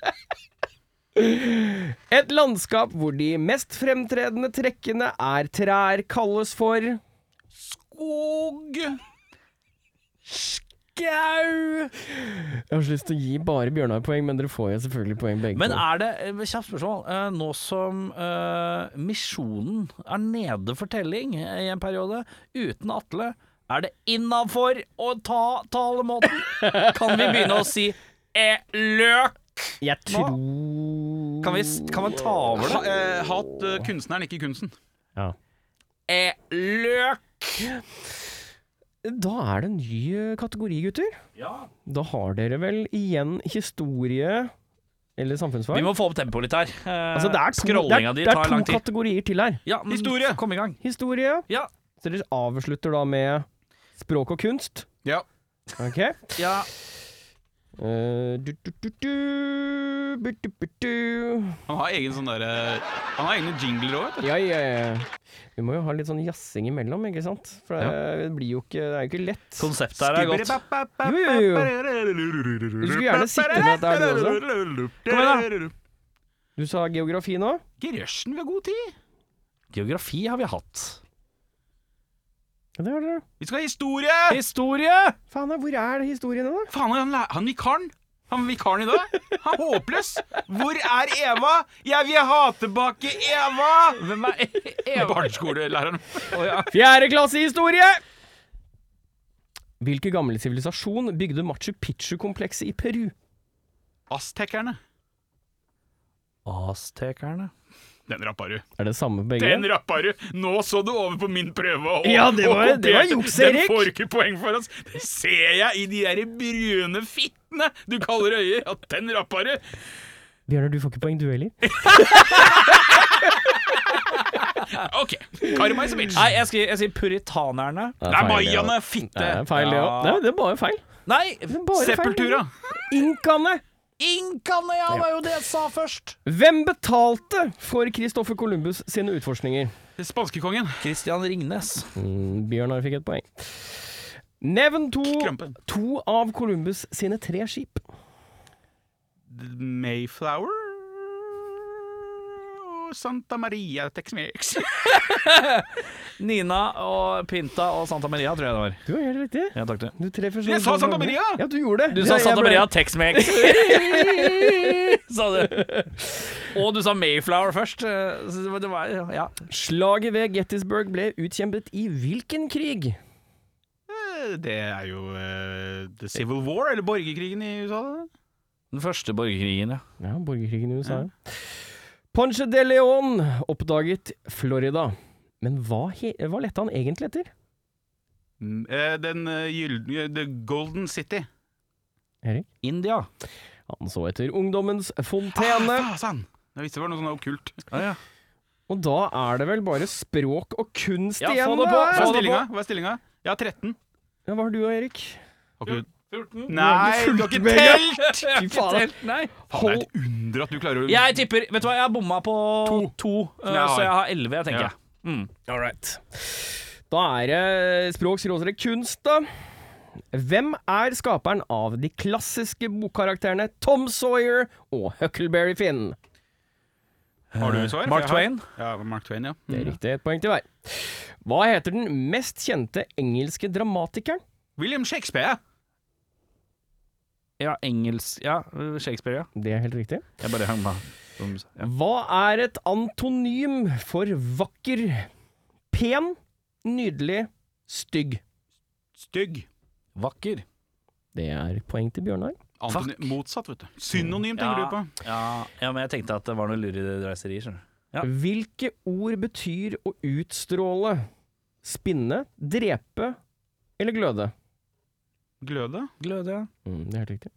D: Et landskap hvor de mest fremtredende trekkene er trær, kalles for
A: Skog Skau
D: Jeg har så lyst til å gi bare Bjørnar poeng, men dere får jo selvfølgelig poeng begge
A: Men
D: to.
A: er det eh, Kjapt spørsmål. eh, Nå som eh, Misjonen er nede for telling i en periode, uten Atle, er det innafor å ta talemåten? Kan vi begynne å si eh, løk?
D: Jeg tror
A: Kan, vi, s- kan man ta over det?
C: Ha, eh, hat eh, kunstneren, ikke kunsten.
A: E
D: Da er det en ny eh, kategori, gutter. Da har dere vel igjen historie eller samfunnsfag.
A: Vi må få opp tempoet litt her. Eh,
D: altså, det er to, det
A: Scrollinga
D: er,
A: di
D: det
A: tar
D: er
A: lang
D: to
A: tid.
D: kategorier til her.
A: Ja, men
C: Historie!
A: Kom i gang.
D: Historie.
A: Ja.
D: Så dere avslutter da med språk og kunst.
C: Ja.
D: Ok.
A: Ja.
D: Eh, du, du, du, du, bu, du, bu, du.
C: Han har egen sånn derre Han har egne jingler òg, vet du.
D: Ja, ja, ja. Vi må jo ha litt sånn jazzing imellom, ikke sant? For det, det blir jo ikke Det er jo ikke lett.
A: Konseptet her er godt.
D: Jo, jo, jo. Du skulle gjerne sitte med dette her, du også.
C: Kom igjen, da.
D: Du sa geografi nå.
C: Gerørsen, vi har god tid.
A: Geografi har vi hatt.
D: Ja, det var det.
C: Vi skal ha historie!
A: Historie!
D: Faen, da, hvor er historiene, da?
C: Faen, han, læ- han vikaren. Han vikaren i dag. Han er håpløs. Hvor er Eva? Jeg vil ha tilbake Eva! Hvem er E- Eva? Barneskolelæreren.
D: Fjerde klassehistorie! Hvilken gammel sivilisasjon bygde Machu Picchu-komplekset i Peru?
C: Aztekerne.
A: Aztekerne.
C: Den rappa du.
D: Er det samme begge?
C: Den rappa du! Nå så du over på min prøve og
D: Ja, det var-
C: og kopierte.
D: det var juks, Erik.
C: Den får ikke poeng for oss. Det ser jeg i de der brune fittene du kaller øyer. At den rappa du!
D: Bjørnar, du får ikke poeng, du heller.
C: OK. Karma is a bitch.
A: Nei, jeg sier, jeg sier puritanerne.
C: Det er mayaene, fitte!
D: Det er feil, det òg. Det er bare feil.
A: Nei,
D: Det er bare
C: Sepultura.
D: feil. Inkaene!
A: inkaene, ja! Det var jo det jeg sa først.
D: Hvem betalte for Christoffer Columbus sine utforskninger?
C: Eh, Spanskekongen.
A: Christian Ringnes.
D: Mm, Bjørnar fikk et poeng. Nevn to,
C: Krampen.
D: to av Columbus sine tre skip.
C: Mayflower og Santa Maria Tex-Mex.
A: Nina og Pinta og Santa Maria, tror jeg det var.
D: Du har helt riktig.
A: Ja, takk du.
D: Du treffer sånn
C: Jeg sa Santa Maria!
D: Ja, du gjorde det.
A: Du sa
D: Jeg- jeg
A: Santa
D: ble-
A: Maria Tex-Mex. sa du. Og du sa Mayflower først. eh, Så det var- det var Ja.
D: Slaget ved Gettysburg ble utkjempet i hvilken krig?
C: Eh, Det er jo eh, The Civil War, eller borgerkrigen i USA. da.
A: Den første borgerkrigen, ja.
D: Ja, borgerkrigen i USA. Ja. Ponche de Leon oppdaget Florida. Men hva, he hva lette han egentlig etter?
C: Mm, eh, Den eh, gyldne The Golden City.
A: India.
D: Han så etter ungdommens fontene.
C: Ah, faen! Jeg visste det var noe sånn okkult.
D: Og da er det vel bare språk og kunst
A: Ja, få
D: igjen,
A: det på,
D: da!
A: få
C: Hva er
A: det
C: stillinga? Hva er stillinga? Jeg har 13.
D: Ja, hva har du da, Erik?
C: Har ikke du 14? Nei, du har ikke telt!
D: Fy faen.
A: Nei.
C: Faen, det er et under at du klarer å
A: Jeg tipper Vet du hva, jeg har bomma på to, eh,
C: jeg har.
A: så jeg har elleve, jeg tenker
C: Ja.
A: jeg. Mm.
D: All right. Da er det språk, skråstrek, kunst, da. Hvem er skaperen av de klassiske bokkarakterene Tom Sawyer og Huckleberry Finn?
C: Har du svar?
A: Mark
C: For jeg
A: Twain.
C: har- Ja, Mark Twain, ja.
D: Det er riktig. Et poeng til hver. Hva heter den mest kjente engelske dramatikeren?
C: William Shakespeare.
A: Ja, engelsk Ja, Shakespeare, ja.
D: Det er helt riktig.
A: Jeg bare hang meg.
D: Hva er et antonym for vakker? Pen, nydelig, stygg.
C: Stygg.
A: Vakker.
D: Det er poeng til Bjørnar.
C: Antony motsatt, vet du. Synonym tenker
A: Ja.
C: du på.
A: Ja, ja, men jeg tenkte at det var noe lureri reiseri, skjønner du. Ja.
D: Hvilke ord betyr å utstråle? Spinne, drepe eller gløde?
C: Gløde.
A: Glød, ja.
D: Mm, det er helt riktig.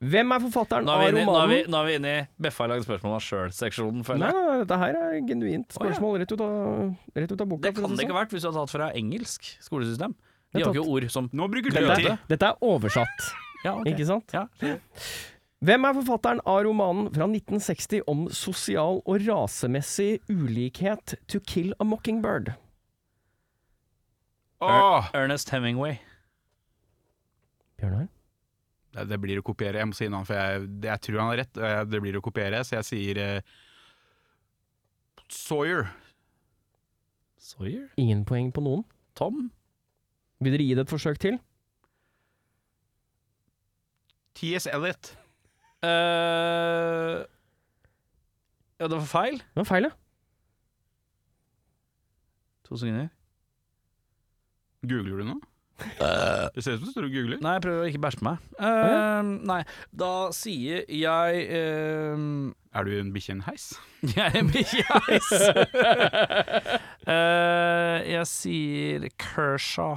D: Hvem er forfatteren
A: Nå
D: av
A: er vi inne, nå er vi,
D: romanen?
A: nå er vi inne i Beffa har lagd spørsmål av sjøl-seksjonen,
D: Nei,
A: føler jeg.
D: nei, nei, dette her er genuint spørsmål rett ut av, rett ut av boka.
A: Det
D: for å
A: kan
D: si
A: det
D: sånn.
A: ikke ha vært hvis du hadde tatt fra engelsk skolesystem. De har jo ikke ord som
C: Nå bruker du tid.
D: Dette, dette er oversatt,
A: Ja, ok.
D: ikke sant?
A: Ja.
D: Hvem er forfatteren av romanen fra 1960 om sosial og rasemessig ulikhet To Kill a Mockingbird?
C: Åh.
A: Ernest Hemingway.
D: Bjørnar?
C: Det, det blir å kopiere. Jeg må si en annen, for jeg, det- jeg tror han har rett. og jeg- Det blir å kopiere, så jeg sier eh, Sawyer.
A: Sawyer?
D: Ingen poeng på noen.
A: Tom?
D: Vil dere gi det et forsøk til?
C: T.S. Elliot.
A: eh ja, det var feil.
D: Det var feil, ja.
A: To sekunder.
C: Googler du nå? Det ser ut som du står og googler.
A: Nei, jeg prøver å ikke bæsje på meg. Eh, Nei, da sier jeg eh,
C: Er du en bikkje i en heis?
A: Jeg yes. Eh, Jeg sier Kershaw.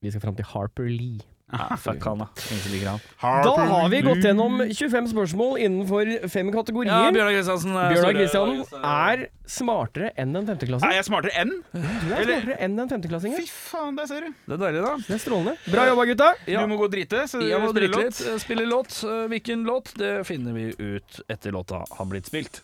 D: Vi skal fram til Harper Lee.
A: Ja, fuck han, da. Ingen som liker han.
D: Da har vi gått gjennom 25 spørsmål innenfor fem
A: Ja,
D: kategorier.
A: Bjørnar Kristiansen. eh,
D: Bjørnar
A: sorry.
D: Kristian er smartere enn en
C: Er
D: femteklassing.
C: jeg smartere enn?
D: Du er
C: eller-
D: smartere enn en femteklassing. ja.
C: Fy faen, der ser du.
A: Det er deilig, da.
D: Det er strålende. Bra jobba, gutta!
A: Ja.
C: Du må gå og drite. Så
A: Jeg må
C: spiller
A: drikke
C: låt.
A: litt. eh, Spille låt. Eh, Hvilken låt? Det finner vi ut etter låta har blitt spilt.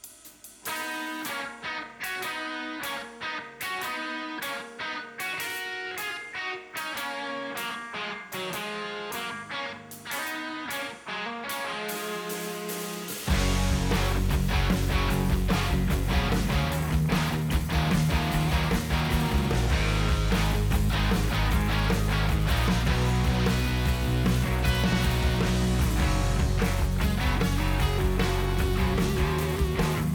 E: Thank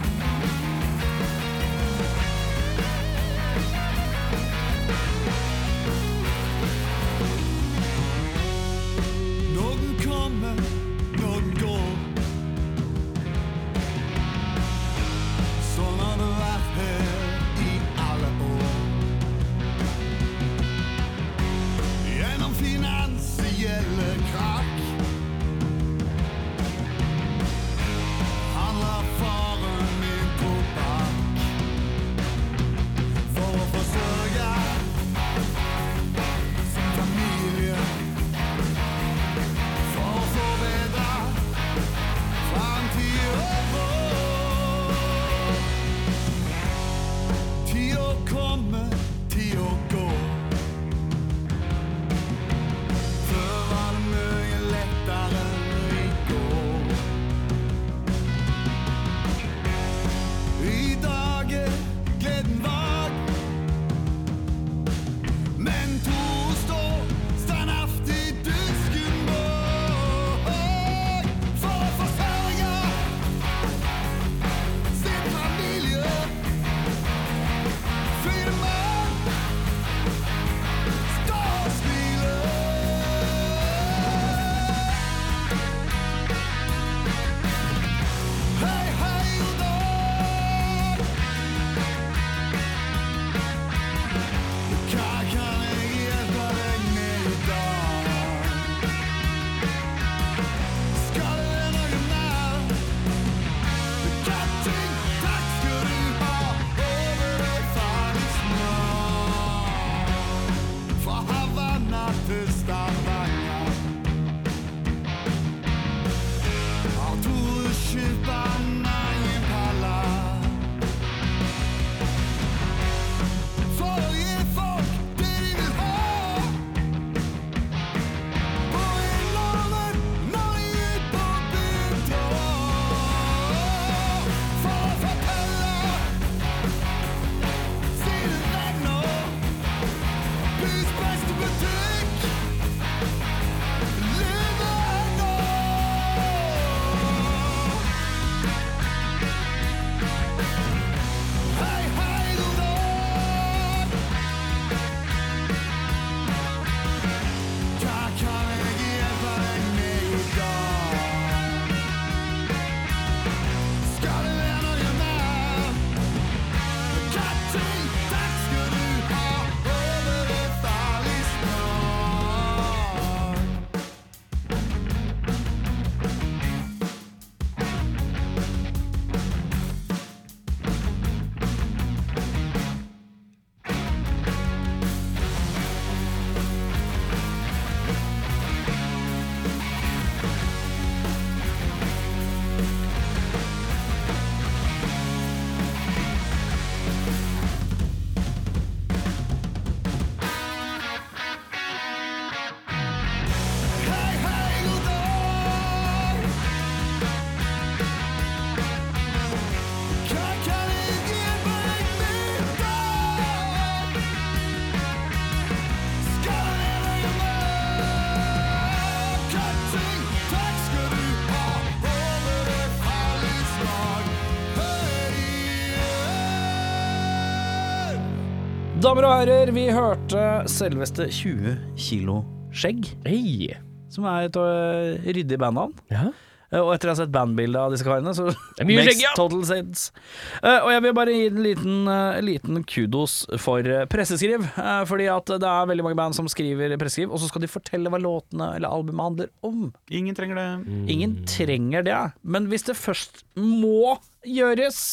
A: damer og herrer, vi hørte selveste 20 kilo skjegg,
D: Hei!
A: som er et øh, ryddig bandnavn.
D: Ja.
A: Eh, Og etter å ha sett bandbildet av disse karene, så
D: er mye
A: makes
D: skjegg, ja.
A: total sense. Eh, og jeg vil bare gi en liten, eh, liten kudos for eh, presseskriv. eh, fordi at det er veldig mange band som skriver presseskriv, og så skal de fortelle hva låtene eller albumet handler om.
C: Ingen trenger det.
A: Ingen trenger det, men hvis det først må gjøres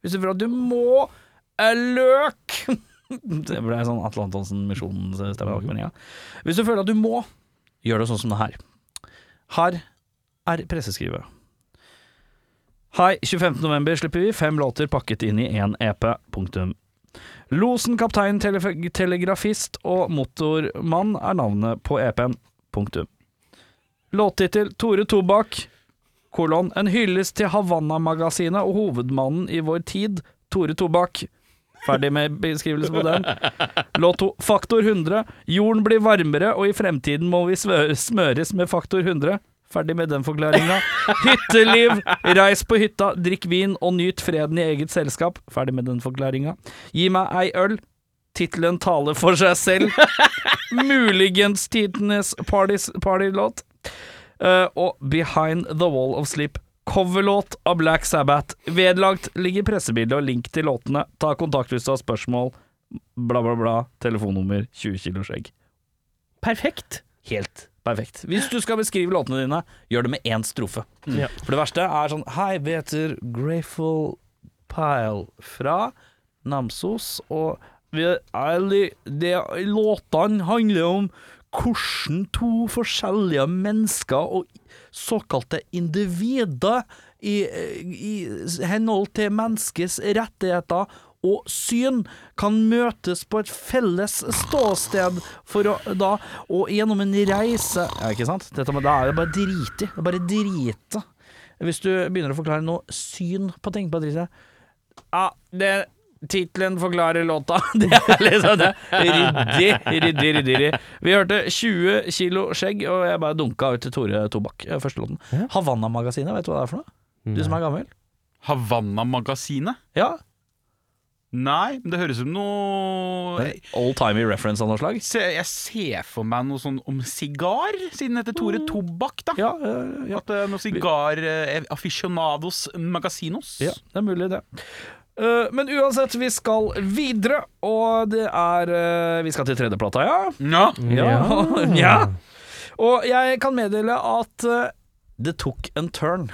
A: Hvis du føler at du må eh, løk Det ble sånn Atle Antonsen-misjonen-stemme. Ja. Hvis du føler at du må, gjør det sånn som det her. Her er presseskrivet. Hei, 25. november slipper vi fem låter pakket inn i én EP. Punktum. Losen, kaptein, telef telegrafist og motormann er navnet på EP-en. Punktum. Låttittel Tore Tobakk, kolon, en hyllest til Havanna-magasinet og hovedmannen i vår tid, Tore Tobakk. Ferdig med beskrivelse på den. Låt to, faktor 100. Jorden blir varmere, og i fremtiden må vi svø- smøres med faktor 100. Ferdig med den forklaringa. Hytteliv! Reis på hytta, drikk vin og nyt freden i eget selskap. Ferdig med den forklaringa. Gi meg ei øl. Tittelen taler for seg selv. Muligens tidenes partys- partylåt. Eh, og Behind The Wall of Sleep. Coverlåt av Black Sabbath. Vedlagt ligger pressebilde og link til låtene. Ta kontakt hvis du har spørsmål. Bla, bla, bla. Telefonnummer 20 kilo skjegg.
D: Perfekt.
A: Helt perfekt. Hvis du skal beskrive låtene dine, gjør det med én strofe.
D: Ja.
A: For det verste er sånn Hei, vi heter Grateful Pile fra Namsos, og vi er, li- det, låtene handler om hvordan to forskjellige mennesker og såkalte individer i, i henhold til menneskets rettigheter og syn kan møtes på et felles ståsted for å da Og gjennom en reise Ja, ikke sant? Dette, med- da er det bare driti. Det er bare drite. Hvis du begynner å forklare noe syn på ting, Patricia Ja, det Tittelen forklarer låta. Det er liksom det. Ryddig, ryddig, ryddig. ryddig. Vi hørte 20 kilo skjegg, og jeg bare dunka ut til Tore Tobakk, eh, første låten. Havanna-magasinet, vet du hva det er for noe? Du som er gammel?
C: Havanna-magasinet?
A: Ja.
C: Nei, men det høres ut som noe jeg,
A: Old-timey reference av noe slag?
C: se- jeg ser for meg noe sånn om sigar, siden det heter Tore Tobakk, da.
A: Mm. Ja, eh, ja.
C: At det er noe sigar eh, aficionados magasinos.
A: Ja, det er mulig det. Eh, men uansett, vi skal videre, og det er eh, Vi skal til tredjeplata, ja.
C: Ja.
D: Mm,
A: Ja. ja. Og jeg kan meddele at eh, det tok en turn.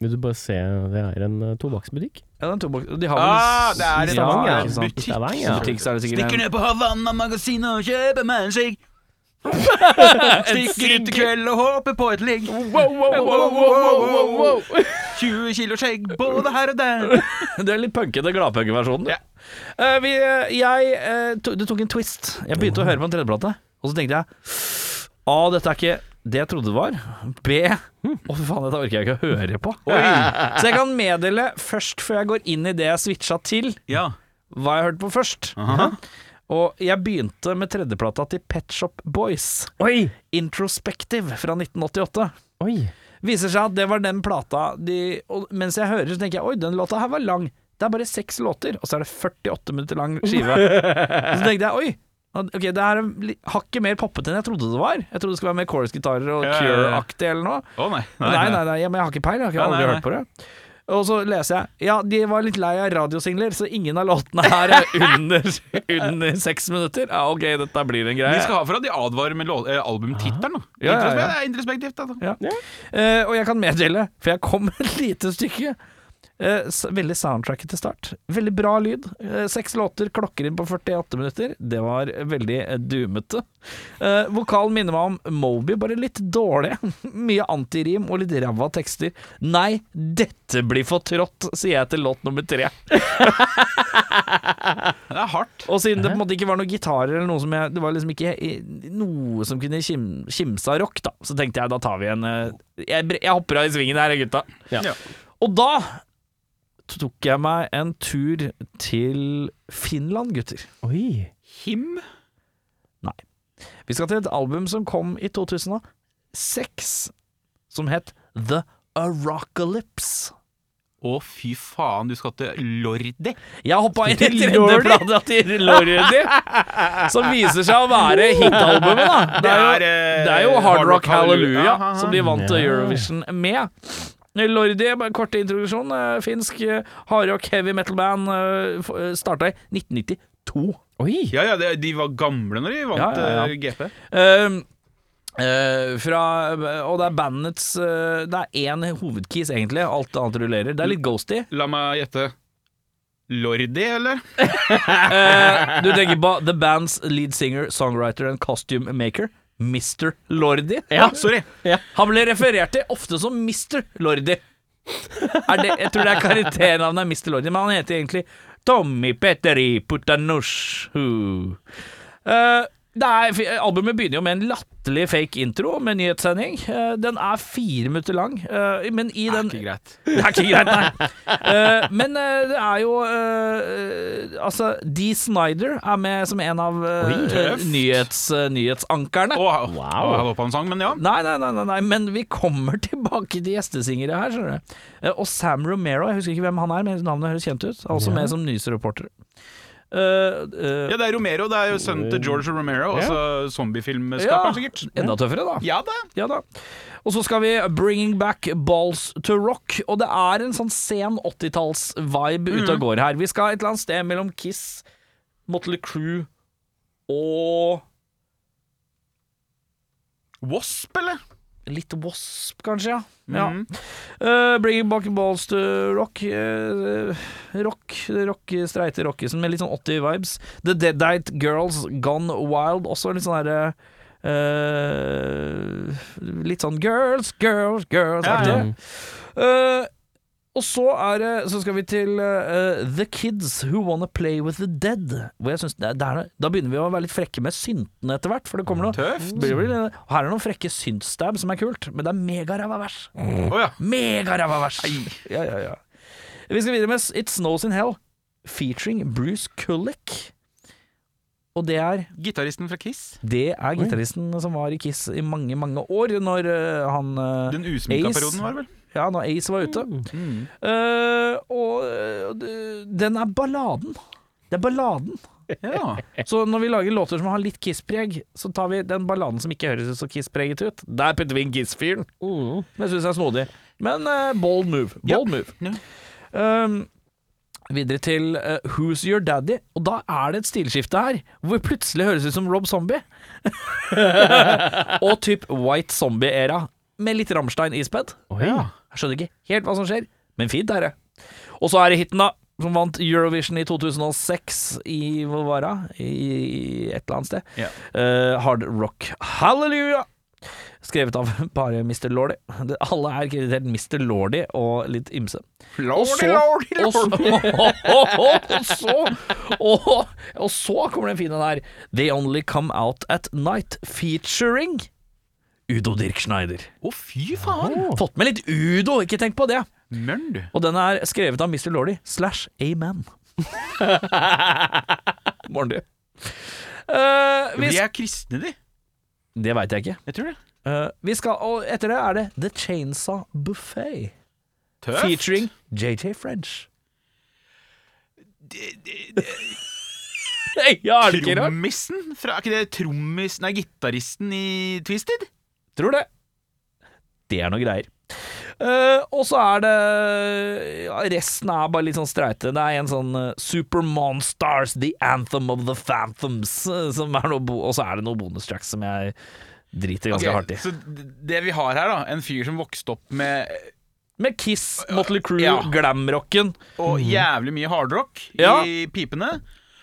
D: Vil du bare se, det er en eh, tobakksbutikk.
A: Ja, den tobakk... De har vel
C: Ah, det er
D: I
C: en
D: Stavanger,
A: ja,
D: ja.
A: ikke sant.
D: I Stavanger,
A: I
D: ja.
A: butikk så er det sikkert
C: Stikker
A: en
C: ned på Havanna-magasinet og kjøper meg en sigg. Stikker ut i kveld og håper på et ligg.
D: wow,
C: 20 kilo skjegg både her og der.
A: Det er litt punkete gladpunkeversjonen.
C: Ja.
A: Uh, vi, eh, jeg eh, to, Det tok en twist. Jeg begynte å høre på en tredjeplate, og så tenkte jeg A, dette er ikke det jeg trodde det var. B Å, fy faen, dette orker jeg ikke å høre på. Så jeg kan meddele først, før jeg går inn i det jeg switcha til,
C: Ja.
A: hva jeg hørte på først. Og jeg begynte med tredjeplata til Pet Shop Boys,
D: Oi!
A: Introspective, fra 1988.
D: Oi!
A: Viser seg at det var den plata de, og Mens jeg hører, så tenker jeg Oi, den låta her var lang Det er bare seks låter Og så er det 48 minutter lang skive Så tenkte jeg, oi Ok, det her er li- hakket mer poppete enn jeg trodde det var Jeg trodde det skulle være mer chorus-gitarer og
C: Ja, ja, ja.
A: Cure-aktig eller noe
C: Å nei.
A: Nei, nei, nei, ja, men jeg har ikke peil Jeg har
C: Nei,
A: ikke aldri
C: nei,
A: hørt på det Og så leser jeg Ja, de var litt lei av radiosingler Så ingen av låtene her er under, under seks minutter Ja, ok, dette blir en greie
C: De skal ha for at de advarer med lå- eh, albumtittelen. da.
A: Ja, ja, ja.
C: Introspekt- Det er introspektivt. da.
A: Ja. Eh, og jeg kan meddele, for jeg kom et lite stykke. Eh, s- veldig soundtracket til start. Veldig bra lyd. Eh, seks låter klokker inn på 48 minutter. Det var veldig eh, doomete. Eh, vokalen minner meg om Moby, bare litt dårlig. Mye antirim og litt ræva tekster. Nei, dette blir for trått, sier jeg til låt nummer tre.
C: Det er hardt.
A: Og siden det på en måte ikke var noen gitarer eller noe som jeg Det var liksom ikke i- noe som kunne kim, kimse av rock, da. Så tenkte jeg da tar vi en eh, Jeg, bre- jeg hopper av i svingen her, gutta.
D: Ja.
C: Ja.
A: Og da tok jeg meg en tur til Finland, gutter.
D: Oi!
C: Him.
A: Vi skal til et album som kom i 2006, som het The Aracalypse.
C: Å, fy faen, du skal til Lordi.
A: Jeg hoppa inn i tredjeplata til Lordi, som viser seg å være hitalbumet, da. Det er, jo- det er jo Hard Rock Hallelujah, som de vant Eurovision med. Lordi, bare kort introduksjon. eh, Finsk eh, hardrock heavy metal band. eh, Starta i 1992.
D: Oi!
C: Ja, ja, det- de var gamle når de vant
A: Ja, ja, ja.
C: eh, GP.
A: Ehm, eh, fra, og det er bandets eh, Det er én hovedkeys, egentlig. Alt annet rullerer. Det er litt ghosty.
C: La meg gjette. Lordi, eller?
A: Eh, du tenker på the band's lead singer, songwriter and costume maker, Mr. Lordi.
C: Ja, sorry.
A: Han ble referert til ofte som Mr. Lordi. Er det, jeg tror det er karakternavnet er Mr. Lordi, men han heter egentlig Tommy Petteri Putanoshu. Eh, det er, fi- albumet begynner jo med en latterlig fake intro med nyhetssending. Eh, den er fire minutter lang, eh, men i den
C: Ikke greit.
A: det er ikke greit, nei. Eh, men eh, det er jo eh, Altså, Dee Snyder er med som en av eh, eh, nyhets, eh, nyhetsankerne.
C: Å, wow. jeg var på en sang, men ja.
A: Nei, nei, nei, nei, nei, men vi kommer tilbake til gjestesingere her, skjønner du. Eh, Og Sam Romero, jeg husker ikke hvem han er, men navnet høres kjent ut. Altså med som nyhetsreporter. Eh, eh,
C: Ja, det er Romero. Det er jo sønnen til George Romero. Altså zombiefilmskaperen, sikkert.
A: Enda tøffere, da.
C: Ja da.
A: Ja da. Og så skal vi bringing back balls to rock. Og det er en sånn sen 80-talls-vibe ute
C: Mm.
A: og går her. Vi skal et eller annet sted mellom Kiss, Motley Crew og
C: Wasp, eller?
A: Litt Wasp, kanskje. ja. ja.
C: Mhm.
A: Eh, bringing back balls to rock. eh, rock, rock streite rockisen med litt sånn 80-vibes. The Deadite Girls Gone Wild. Også litt sånn herre Litt sånn girls, girls, girls.
C: Ja, ja.
A: aktig.
D: Mm.
A: Eh, og så, er, det- så skal vi til eh, The Kids Who Wanna Play With The Dead. Hvor jeg synes det er, det er, noe- da begynner vi å være litt frekke med syntene etter hvert. For det kommer noe
C: Tøft.
A: blir vel- eh, og Her er noen frekke syntstab som er kult, men det er megaræva vers.
C: Mm. Å ja.
A: Megaræva vers! Ja, ja, ja. Vi skal videre med It Snows In Hell, featuring Bruce Kulick. Og det er
C: Gitaristen fra Kiss.
A: Det er gitaristen som var i Kiss i mange, mange år, når eh, han eh,
C: Den usminka
A: Ace.
C: perioden, var det vel? Mm.
A: ja, når Ace var ute. Eh, og eh, d- den er balladen. Det er balladen.
C: Ja.
A: Så når vi lager låter som har litt Kiss-preg, så tar vi den balladen som ikke høres så Kiss-preget ut. Der putter vi inn Kiss-fyren.
D: Mm.
A: Det syns jeg er snodig. Men eh, bold move. Bold move.
C: Ja.
A: Um, videre til eh, Who's Your Daddy? Og da er det et stilskifte her, hvor vi plutselig høres ut som Rob Zombie. Og typ White Zombie-era, med litt Rammstein ispedd. Jeg skjønner ikke helt hva som skjer, men fint er det. Og så er det hiten, da. Som vant Eurovision i 2006 i Hvor var det? I et eller annet sted.
C: Ja.
A: Eh, hard Rock Hallelujah! Skrevet av bare Mr. Lordy. Det, alle er kreditert Mr. Lordy og litt ymse. Og så, og så, og så, og, og så kommer den fine der. They Only Come Out At Night featuring Udo Dirk Schneider.
C: Å, fy faen!
A: Fått med litt Udo, ikke tenk på det.
C: Mørn, du.
A: Og den er skrevet av Mr. Lordy slash Amen. Morn, du. Eh, vi,
C: Vi er kristne, de.
A: det veit jeg ikke.
C: Jeg tror det.
A: Eh, vi skal, og etter det er det The Chainsaw Buffet.
C: Tøft.
A: Featuring JJ French. Nei, ja, er det ikke rart?
C: Trommisen fra Er ikke det trommis... Nei, gitaristen i Twisted?
A: Tror det. Det er noe greier. Eh, og så er det ja, Resten er bare litt sånn streite. Det er en sånn eh, Super Monstars, The Anthem of the Phantoms, eh, som er noe bo og så er det noen bonustracks som jeg driter ganske
C: Ok,
A: hardt i.
C: Så d- det vi har her, da, en fyr som vokste opp med
A: Med Kiss, Motley Crew,
C: Ja.
A: glamrocken.
C: og jævlig mye hardrock
A: Mm. Ja.
C: i pipene.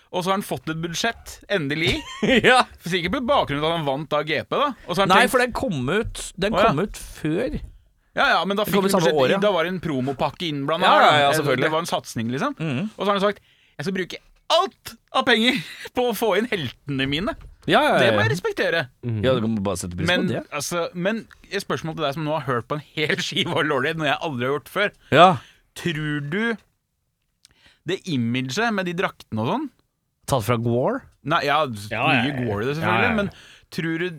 C: Og så har han fått et budsjett, endelig.
A: ja.
C: Sikkert på bakgrunn av at han vant da GP, da. Og så har han
A: Nei,
C: tenkt-
A: for den kom ut Den
C: Å, ja.
A: kom ut før.
C: Ja, ja, men da, fikk
A: kom i
C: vi
A: samme
C: budsjett-
A: år, ja.
C: da var det en promopakke innblanda.
A: Ja, ja,
C: her,
A: ja,
C: da. Eh,
A: selvfølgelig. Mm.
C: det var en satsing, liksom. Og så har han sagt jeg skal bruke alt av penger på å få inn heltene mine.
A: Ja, ja,
C: Det
A: ja.
C: må jeg respektere.
A: ja, du kan bare sette pris
C: Mm. Men,
A: på det.
C: altså, men et spørsmål til deg som nå har hørt på en hel skive av Lordy, noe jeg aldri har gjort før.
A: Ja.
C: Tror du det imaget med de draktene og sånn
A: Tatt fra Gwar?
C: Nei, ja, mye går det selvfølgelig,
I: ja.
C: men tror du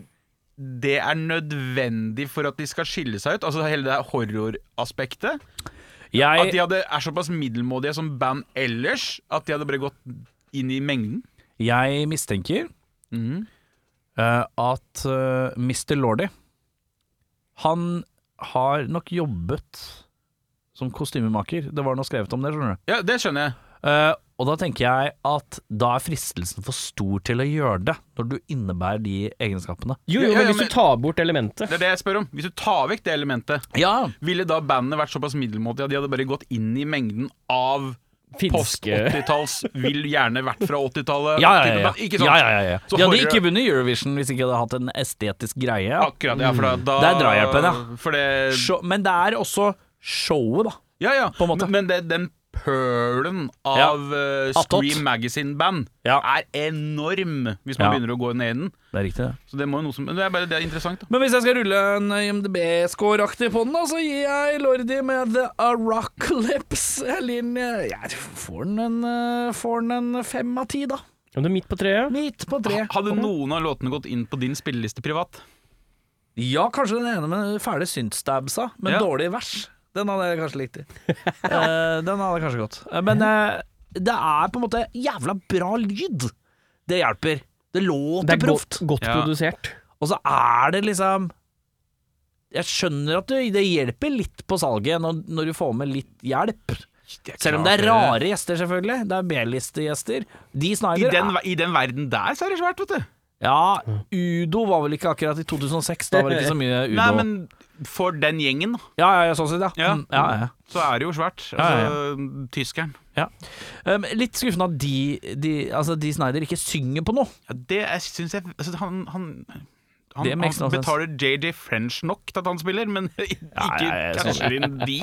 C: det er nødvendig for at de skal skille seg ut? Altså hele det her horroraspektet? At
A: Jeg
C: de hadde, er såpass middelmådige som band ellers, at de hadde bare gått inn i mengden.
A: Jeg mistenker
C: Mhm.
A: eh, at eh, Mr. Lordy Han har nok jobbet som kostymemaker. Det var noe skrevet om det, skjønner du.
C: Ja, det skjønner jeg.
A: Eh, og da tenker jeg at da er fristelsen for stor til å gjøre det, når du innebærer de egenskapene.
D: Jo, jo,
C: Ja, ja,
D: men hvis
C: men-
D: du tar bort elementet
C: Det er det jeg spør om. Hvis du tar vekk det elementet,
A: Ja,
C: ville da bandet vært såpass middelmådige at de hadde bare gått inn i mengden av Post
D: finske
C: 80-talls vil gjerne vært fra 80-tallet.
A: ja, ja. ja.
C: til- Ikke sant?
A: ja, ja, ja, ja.
C: Så
A: De hadde
C: horror-
A: ikke vunnet Eurovision hvis ikke de hadde hatt en estetisk greie.
C: Akkurat, ja, for da, da
A: Det er drahjelpen, ja.
C: For det
A: Show- Men det er også showet, da.
C: Ja, ja.
A: På en måte.
C: Men, men det, den pølen av eh,
A: Attåt.
C: Scream Magazine-band
A: Ja.
C: er enorm, hvis man
A: Ja.
C: begynner å gå ned i den.
A: Det er riktig, det.
C: Så det må jo noe som Men det er bare det er interessant, da.
A: Men hvis jeg skal rulle en IMDb-score-aktig på den, da, så gir jeg Lordi med The Arocalypse en linje Jeg får den en, eh, får den en fem av ti, da.
D: Om det er midt på treet
A: Midt på tre.
C: Hadde noen av låtene gått inn på din spilleliste privat?
A: Ja, kanskje den ene med fæle syntstabsa, men
C: Ja.
A: dårlig vers. Den hadde jeg kanskje likt. i. Eh, den hadde kanskje gått. Eh, Men eh, det er på en måte jævla bra lyd. Det hjelper. Det
D: Det
A: låter
D: er godt,
A: proft.
D: godt
C: Ja.
D: produsert
A: Og så er det liksom Jeg skjønner at det, det hjelper litt på salget når, når du får med litt hjelp. Selv om det er rare gjester, selvfølgelig. Det er B-listegjester.
C: I
A: De Snyder
C: den,
A: er-
C: ver- I den verden der så er det svært, vet du.
A: Ja, Udo var vel ikke akkurat i 2006. Da var det ikke så mye Udo.
C: Nei, men for den gjengen, da,
A: Ja, ja, ja, sånn sett, ja.
C: Ja.
A: Mm, ja, ja.
C: så er det jo svært.
A: Ja, ja,
C: Altså, Tyskeren.
A: Um, litt skuffende at de, de, altså, de Snyder ikke synger på noe.
C: Ja, det er- syns jeg altså, Han, han han,
A: Det makes
C: han
A: no sense.
C: betaler JJ French nok til at han spiller, men ikke
A: ja, ja, sånn.
C: casher inn de.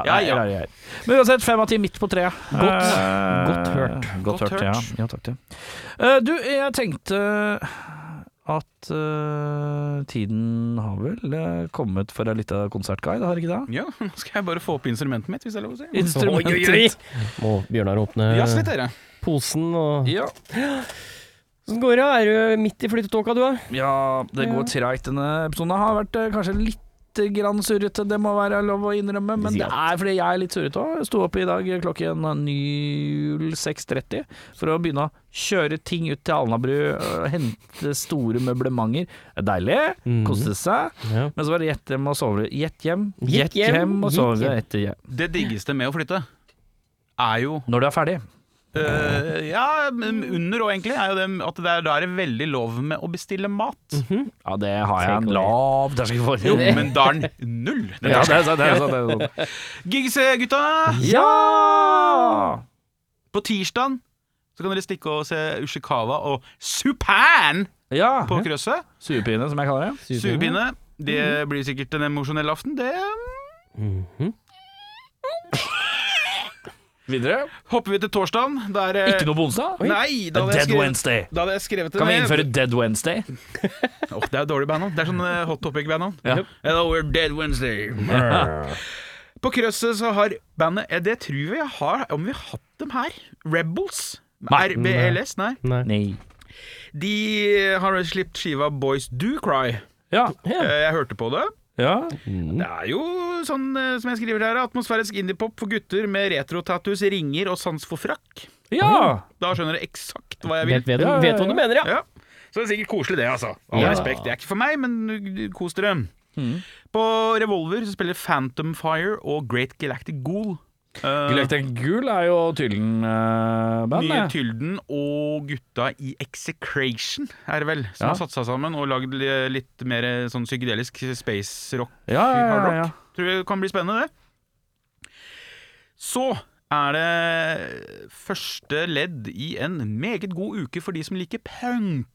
C: Ja, ja.
A: nei, jeg er- jeg er. Men uansett, fem av ti midt på treet. Godt,
D: godt hørt.
A: Godt,
C: Godt
A: hørt,
C: hørt.
A: Ja. ja takk, ja. Eh, du, jeg tenkte at eh, tiden har vel eh, kommet for ei lita konsertguide, har ikke det?
C: Ja, nå skal jeg bare få opp instrumentet mitt, hvis det er lov å si.
A: Instrumentet
D: Oi, oi, oi. Må Bjørnar åpne
C: Jazz litt, dere.
D: posen og
A: Ja.
D: Hvordan går det? Er du midt i flyttetåka du er?
A: ja, det går treigt. Denne episoden har vært eh, kanskje litt grann surrete, det må være lov å innrømme, men det er fordi jeg er litt surrete òg. Sto opp i dag klokken 06.30 for å begynne å kjøre ting ut til Alnabru, eh, hente store møblementer. Det er Deilig. Koste seg.
D: Ja.
A: Men så var det gjett hjem og sove. Gjett hjem, gjett
D: Gjett hjem,
A: hjem og
D: gjett
A: sove
D: hjem.
A: etter hjem.
C: Det diggeste med å flytte er jo
A: Når du er ferdig.
C: eh, Ja, men under og egentlig, er jo det at det er, da er det veldig lov med å bestille mat.
A: Ja, det har jeg en
D: Take away.
A: lav terskel for.
C: Jo, men da er den null. Den
A: Ja,
C: er-
A: det er sant, det er sant. Det er sant.
C: Gigs, eh, gutta!
A: Ja!
C: På tirsdag så kan dere stikke og se Ushikawa og Supan
A: ja.
C: på krøsset.
A: Suepine, som jeg kaller det.
C: Suepinne. Det
A: Mm.
C: blir sikkert en emosjonell aften. Det um,
A: Videre.
C: hopper vi til torsdagen. Der eh,
A: Ikke noe på onsdag?
C: Nei, da hadde, jeg
A: Dead
C: skrevet,
A: Wednesday.
C: da hadde jeg skrevet det
A: Kan vi
C: ned.
A: innføre Dead Wednesday?
C: Åh, det er dårlig bandnavn. Det er sånn eh, hot topic-bandnavn.
A: Ja.
C: Hello, we're Dead Wednesday. På krøsset så har bandet eh, Det tror jeg vi har, om vi har hatt dem her. Rebels.
A: Nei.
C: RBLS, nei.
A: Nei.
C: De har sluppet skiva Boys Do Cry.
A: Ja.
C: Eh, Jeg hørte på det.
A: ja. Mm.
C: Det er jo sånn eh, som jeg skriver her, atmosfærisk indiepop for gutter med retro-tattoos, ringer og sans for frakk.
A: Ja.
C: Da skjønner dere eksakt hva jeg vil.
D: Vet, vet, du- vet hva du mener,
C: Ja.
D: ja
C: Så det er sikkert koselig det, altså. All respekt. Det er ikke for meg, men kos dere.
A: Mm.
C: På Revolver så spiller Phantom Fire og Great Galactic Ghoul. Eh,
A: Gløkten Gul er jo eh, Tylden-band.
C: Nye Tylden og gutta i Execration, er det vel, som
A: Ja.
C: har satsa sammen og lagd li- litt mer sånn psykedelisk space-rock.
A: ja, ja,
C: Hard
A: ja,
C: rock.
A: ja.
C: Tror det kan bli spennende, det. Så er det første ledd i en meget god uke for de som liker punk.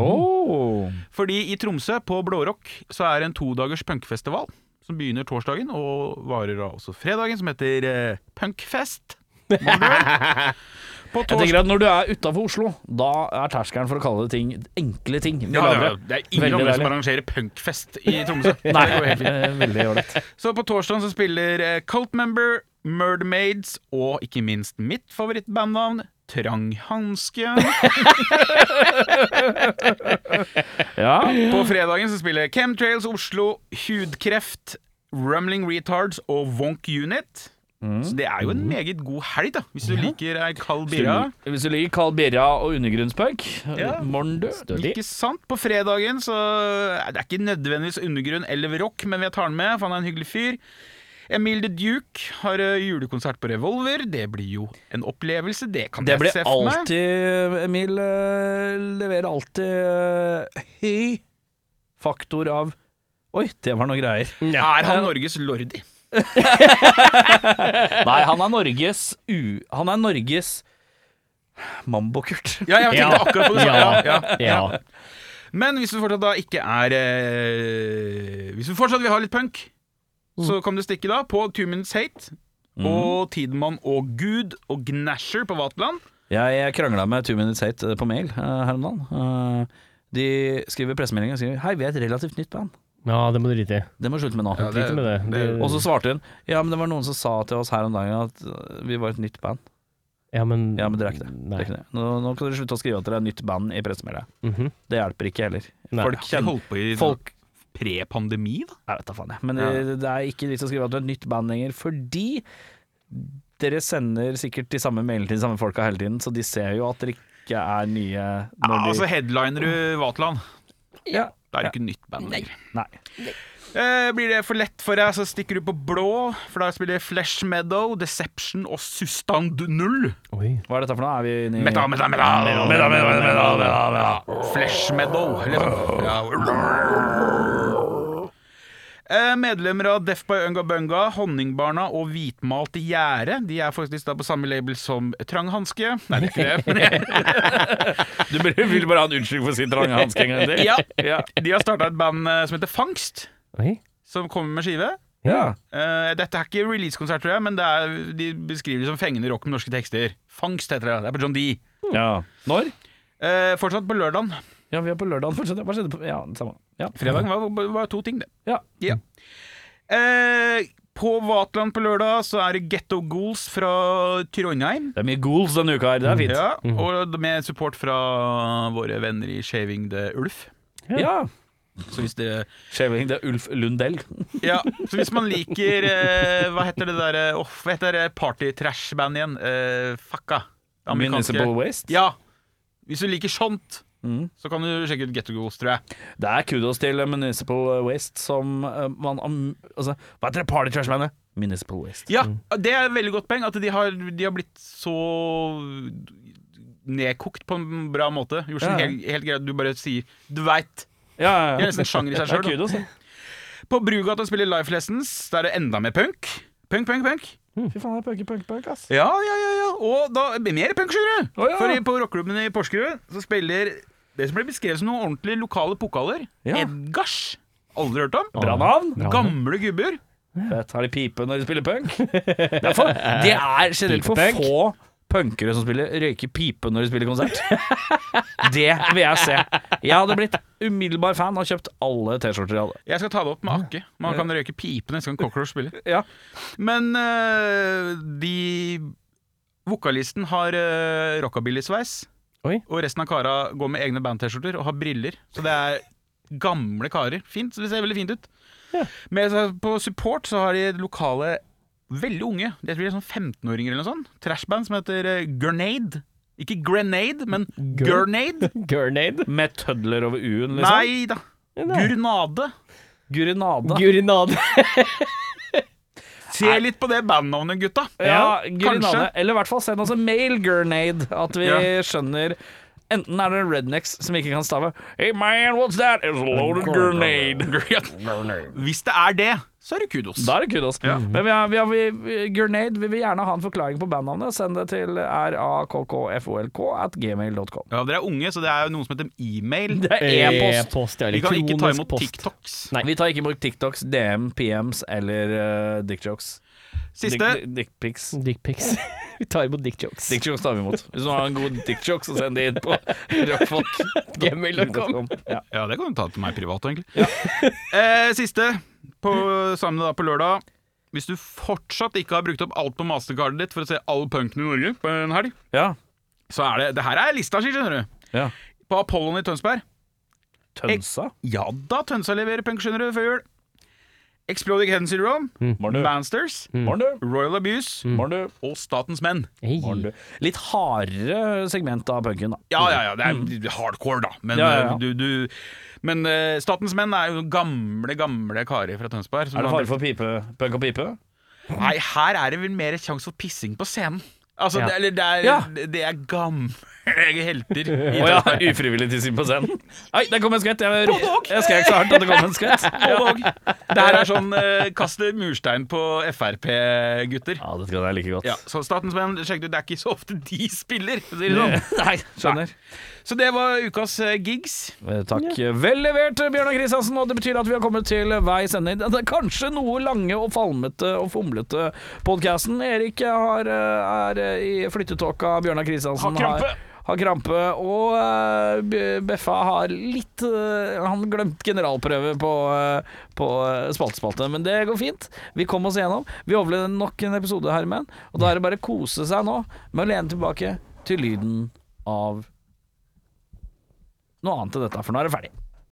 A: Åh.
C: Fordi i Tromsø, på Blårock, så er det en todagers punkfestival som begynner torsdagen og varer da også fredagen, som heter eh, Punkfest. Må du vel? På
A: Jeg
C: torsdag
A: tenker at Når du er utafor Oslo, da er terskelen for å kalle det ting enkle ting. mye
C: ja, det,
A: lavere.
C: er, det er ingen
A: Veldig
C: andre som
A: deilig.
C: arrangerer punkfest i Tromsø. Det
A: Nei,
C: går helt fint.
A: eh, veldig ålreit.
C: Så på torsdagen så spiller eh, Cult Member, Murdermaids og ikke minst mitt favorittbandnavn, Tranghanske.
A: Ja.
C: På fredagen så spiller Chemtrails Oslo, Hudkreft Rumbling Retards og Wonk Unit. Så det er jo en meget god helg, da, hvis du liker ei kald birra.
A: Mm. Hvis du liker Carl Birra og undergrunnspunk,
C: Ja.
A: morn du.
C: Ikke sant? På fredagen så eh, Det er ikke nødvendigvis undergrunn eller rock, men jeg tar den med, for han er en hyggelig fyr. Emil the Duke har ø, julekonsert på Revolver. Det blir jo en opplevelse, det kan
A: Det
C: jeg
A: blir
C: se for meg.
A: alltid Emil eh, leverer alltid eh, høy faktor av Oi, det var noe greier.
C: Er han Norges Lordi?
A: Nei, han er Norges u... Han er Norges Mambo-Kurt.
C: Ja, jeg tenkte akkurat på det samme. Ja, ja.
D: Ja.
C: Men hvis du fortsatt da ikke er eh, Hvis du fortsatt vil ha litt punk, så kan du stikke da på Two Minutes Hate og Tidemann og Gud og Gnasher på Vatland.
A: Jeg, jeg krangla med Two Minutes Hate eh, på mail eh, her om dagen. Eh, de skriver pressemelding og sier 'Hei, vi er et relativt nytt band'.
D: ja, det må du drite i.
A: Det må vi slutte med nå.
D: Drit med det.
A: Og
D: det
A: så svarte hun Ja, men det var noen som sa til oss her om dagen at eh, vi var et nytt band.
D: ja, men,
A: Ja, men dere er ikke det. Det
D: Nei.
A: er ikke det. Nå, nå kan dere slutte å skrive at dere er et nytt band i pressemeldinga.
D: Mhm.
A: Det hjelper ikke heller.
D: Nei.
A: Folk
C: De
A: kjenner
C: holdt på i
A: folk
C: pre-pandemi, da.
A: Jeg vet da faen, jeg. Men det, det er ikke vits å skrive at du er et nytt band lenger, fordi dere sender sikkert de samme mailene til de samme folka hele tiden, så de ser jo at dere ikke er nye
C: Ja,
A: når de
C: altså headliner du Vatland.
A: Ja.
C: Da er det ikke nytt band lenger.
A: Nei.
C: Eh, blir det for lett for deg, så stikker du på blå, for da spiller Flesh Meadow, Deception og Sustand Null.
D: Oi.
A: Hva er dette for noe? Er vi inne i
C: Metal, metal, metal! metal, metal, metal, metal, metal. Flesh Meadow. Liksom. Eh, Medlemmer av Deaf by Unga Bunga, Honningbarna og Hvitmalt gjerde. De er faktisk da på samme label som Tranghanske. Nei, det er ikke det.
A: Du vil bare ha en unnskyldning for å si trange hansker en gang til?
C: Ja, De har starta et band eh, som heter Fangst,
D: Oi.
C: som kommer med skive.
D: Ja.
C: Eh, dette er ikke releasekonsert, tror jeg, men det er, de beskriver det som fengende rock med norske tekster. Fangst heter det. Det er på John D.
A: ja. Når?
C: Eh, fortsatt på lørdagen.
A: Ja, vi er på lørdagen fortsatt. Hva skjedde på Ja, det samme. Ja.
C: Fredagen var, var to ting, det.
A: Ja.
C: Eh, på Vatland på lørdag så er det Getto Goals fra Trondheim.
A: Det er mye goals denne uka her, det er fint.
C: Ja, og med support fra våre venner i Shaving the Ulf.
A: Ja.
C: Så hvis, dere,
A: Shaving, det er Ulf Lundell.
C: ja, så hvis man liker eh, Hva heter det der eh, åh, Hva heter det party-trash-bandet igjen? Eh, fucka. Det amerikanske-
A: Municipal Waste.
C: Ja. Hvis du liker sånt, så kan du sjekke ut Getto Goals, tror jeg.
A: Det er kudos til Municipal Waste som eh, man am- altså, Hva heter det party trash-bandet? Municipal Waste.
C: Ja, Det er et veldig godt poeng. At de har, de har blitt så nedkokt på en bra måte. Gjort sånn
A: Ja.
C: helt, helt greit. Du bare sier Du veit.
A: Ja, ja,
C: Det er nesten en sjanger i seg
A: Det er
C: sjøl.
A: kudos, det.
C: På Brugata spiller Life Lessons. Der er det enda mer punk. Punk, punk, punk.
D: Mm.
A: Fy faen, det er punky, punky, punk, ass.
C: Ja, ja, ja. ja. Og da mer punk, skjønner du.
A: Å, ja.
C: For i- på rockeklubben i Porsgrunn så spiller det som ble beskrevet som noen ordentlige lokale pokaler.
A: Ja.
C: Edgars. Aldri hørt om.
A: Bra navn.
C: Gamle gubber.
A: Fett. Har de pipe når de spiller punk? Det er, for, det er generelt for
D: Pipepunk.
A: få punkere som spiller røyker pipe når de spiller konsert. Det vil jeg se. Jeg hadde blitt umiddelbar fan og kjøpt alle T-skjorter jeg hadde.
C: Jeg skal ta det opp med Akke. Man kan røyke pipe neste gang Cockroach spiller.
A: Ja.
C: Men eh, de Vokalisten har uh, rockabilly-sveis.
D: Oi.
C: Og resten av kara går med egne band-T-skjorter og har briller. Så det er gamle karer. Fint, så Det ser veldig fint ut. Med seg på support så har de lokale veldig unge. Jeg tror de er sånn 15-åringer eller noe sånt. Trashband som heter eh, Grenade. Ikke Grenade, men
D: Gur-
C: Gurnade.
D: Gurnade.
A: Med tødler over U-en, liksom.
C: Nei da. Gurnade.
A: Gurinada.
D: Gurinade.
C: Se litt på det bandnavnet, gutta.
A: Ja,
C: kanskje.
A: Gurinade. Eller i hvert fall send oss en mail, Gurnade, at vi
C: Ja.
A: skjønner Enten er det rednecks som ikke kan stave Hey man, what's that? It's a loaded grenade.
C: Hvis det er det, så er det kudos.
A: Da er det kudos. Men vi har, vi har, vi, vi- Gurnade vi vil gjerne ha en forklaring på bandnavnet. Send det til rakkfolk at gmail.com.
C: Ja, Dere er unge, så det er jo noe som heter e-mail.
A: Det er e-post.
D: ja,
C: Vi kan ikke ta
D: elektronisk
C: imot
D: post.
C: TikToks.
D: Nei.
A: Vi tar ikke imot TikToks, DM, PMs eller uh, dickjokes.
C: Siste.
A: Dickpics.
D: Dick pics. vi tar imot dick jokes.
A: Dickjokes tar vi imot. Hvis du har en god dickjoke, så send det inn på rockfolk.gmail.com. Ja.
C: Ja, det kan du ta til meg privat, egentlig. eh, siste, på, sammen da på lørdag. Hvis du fortsatt ikke har brukt opp alt på mastercardet ditt for å se all punken i Norge på en helg,
A: ja.
C: så er det Det her er lista si, skjønner du.
A: Ja.
C: På Apollon i Tønsberg.
A: Tønsa.
C: Ja da, Tønsa leverer punk, skjønner du, før jul. Exploding Head Syndrome,
A: Morn, du.
C: Mansters,
A: Morn, du.
C: Royal Abuse
A: Morn, du.
C: og Statens Menn.
D: Hey.
A: Morn, du. Mm. Litt hardere segment av punken, da.
C: Ja, ja, ja, det er hardcore, da. Men,
A: Mm. Ja, ja, ja.
C: eh, Du, du, men eh, Statens Menn er jo gamle, gamle karer fra Tønsberg. som
A: Er det
C: har-
A: fare for pipe, punk og pipe?
C: Nei, her er det vel mer sjanse for pissing på scenen. Altså, det, eller det er,
A: Ja.
C: det er gamle helter. i
A: Å ja,
C: Tønsberg.
A: ufrivillig tissing på scenen. Oi, der kom en skvett. Jeg, ropte- jeg skrek så hardt at det kom en skvett.
C: Og dog. Det her er sånn eh, kaste murstein på Frp-gutter.
A: Ja, dette kan jeg like godt.
C: Ja, så Statens Menn, sjekk det, det er ikke så ofte de spiller, for å si det sånn.
A: Nei, skjønner.
C: Så det var ukas eh, gigs.
A: Eh, Takk. Vel levert, Bjørnar Kristiansen. Og det betyr at vi har kommet til eh, veis ende. Det er kanskje noe lange og falmete og fomlete podkasten. Erik har, eh, er eh, i flyttetåka. Bjørnar Kristiansen
C: Har krampe.
A: Har, har krampe. Og eh, B- Beffa har litt eh, Han glemte generalprøve på, eh, på eh, spaltespalte, men det går fint. Vi kom oss gjennom. Vi overlevde nok en episode, Herman. Og da er det bare å kose seg nå med å lene tilbake til lyden av noe annet til dette, for nå er det ferdig.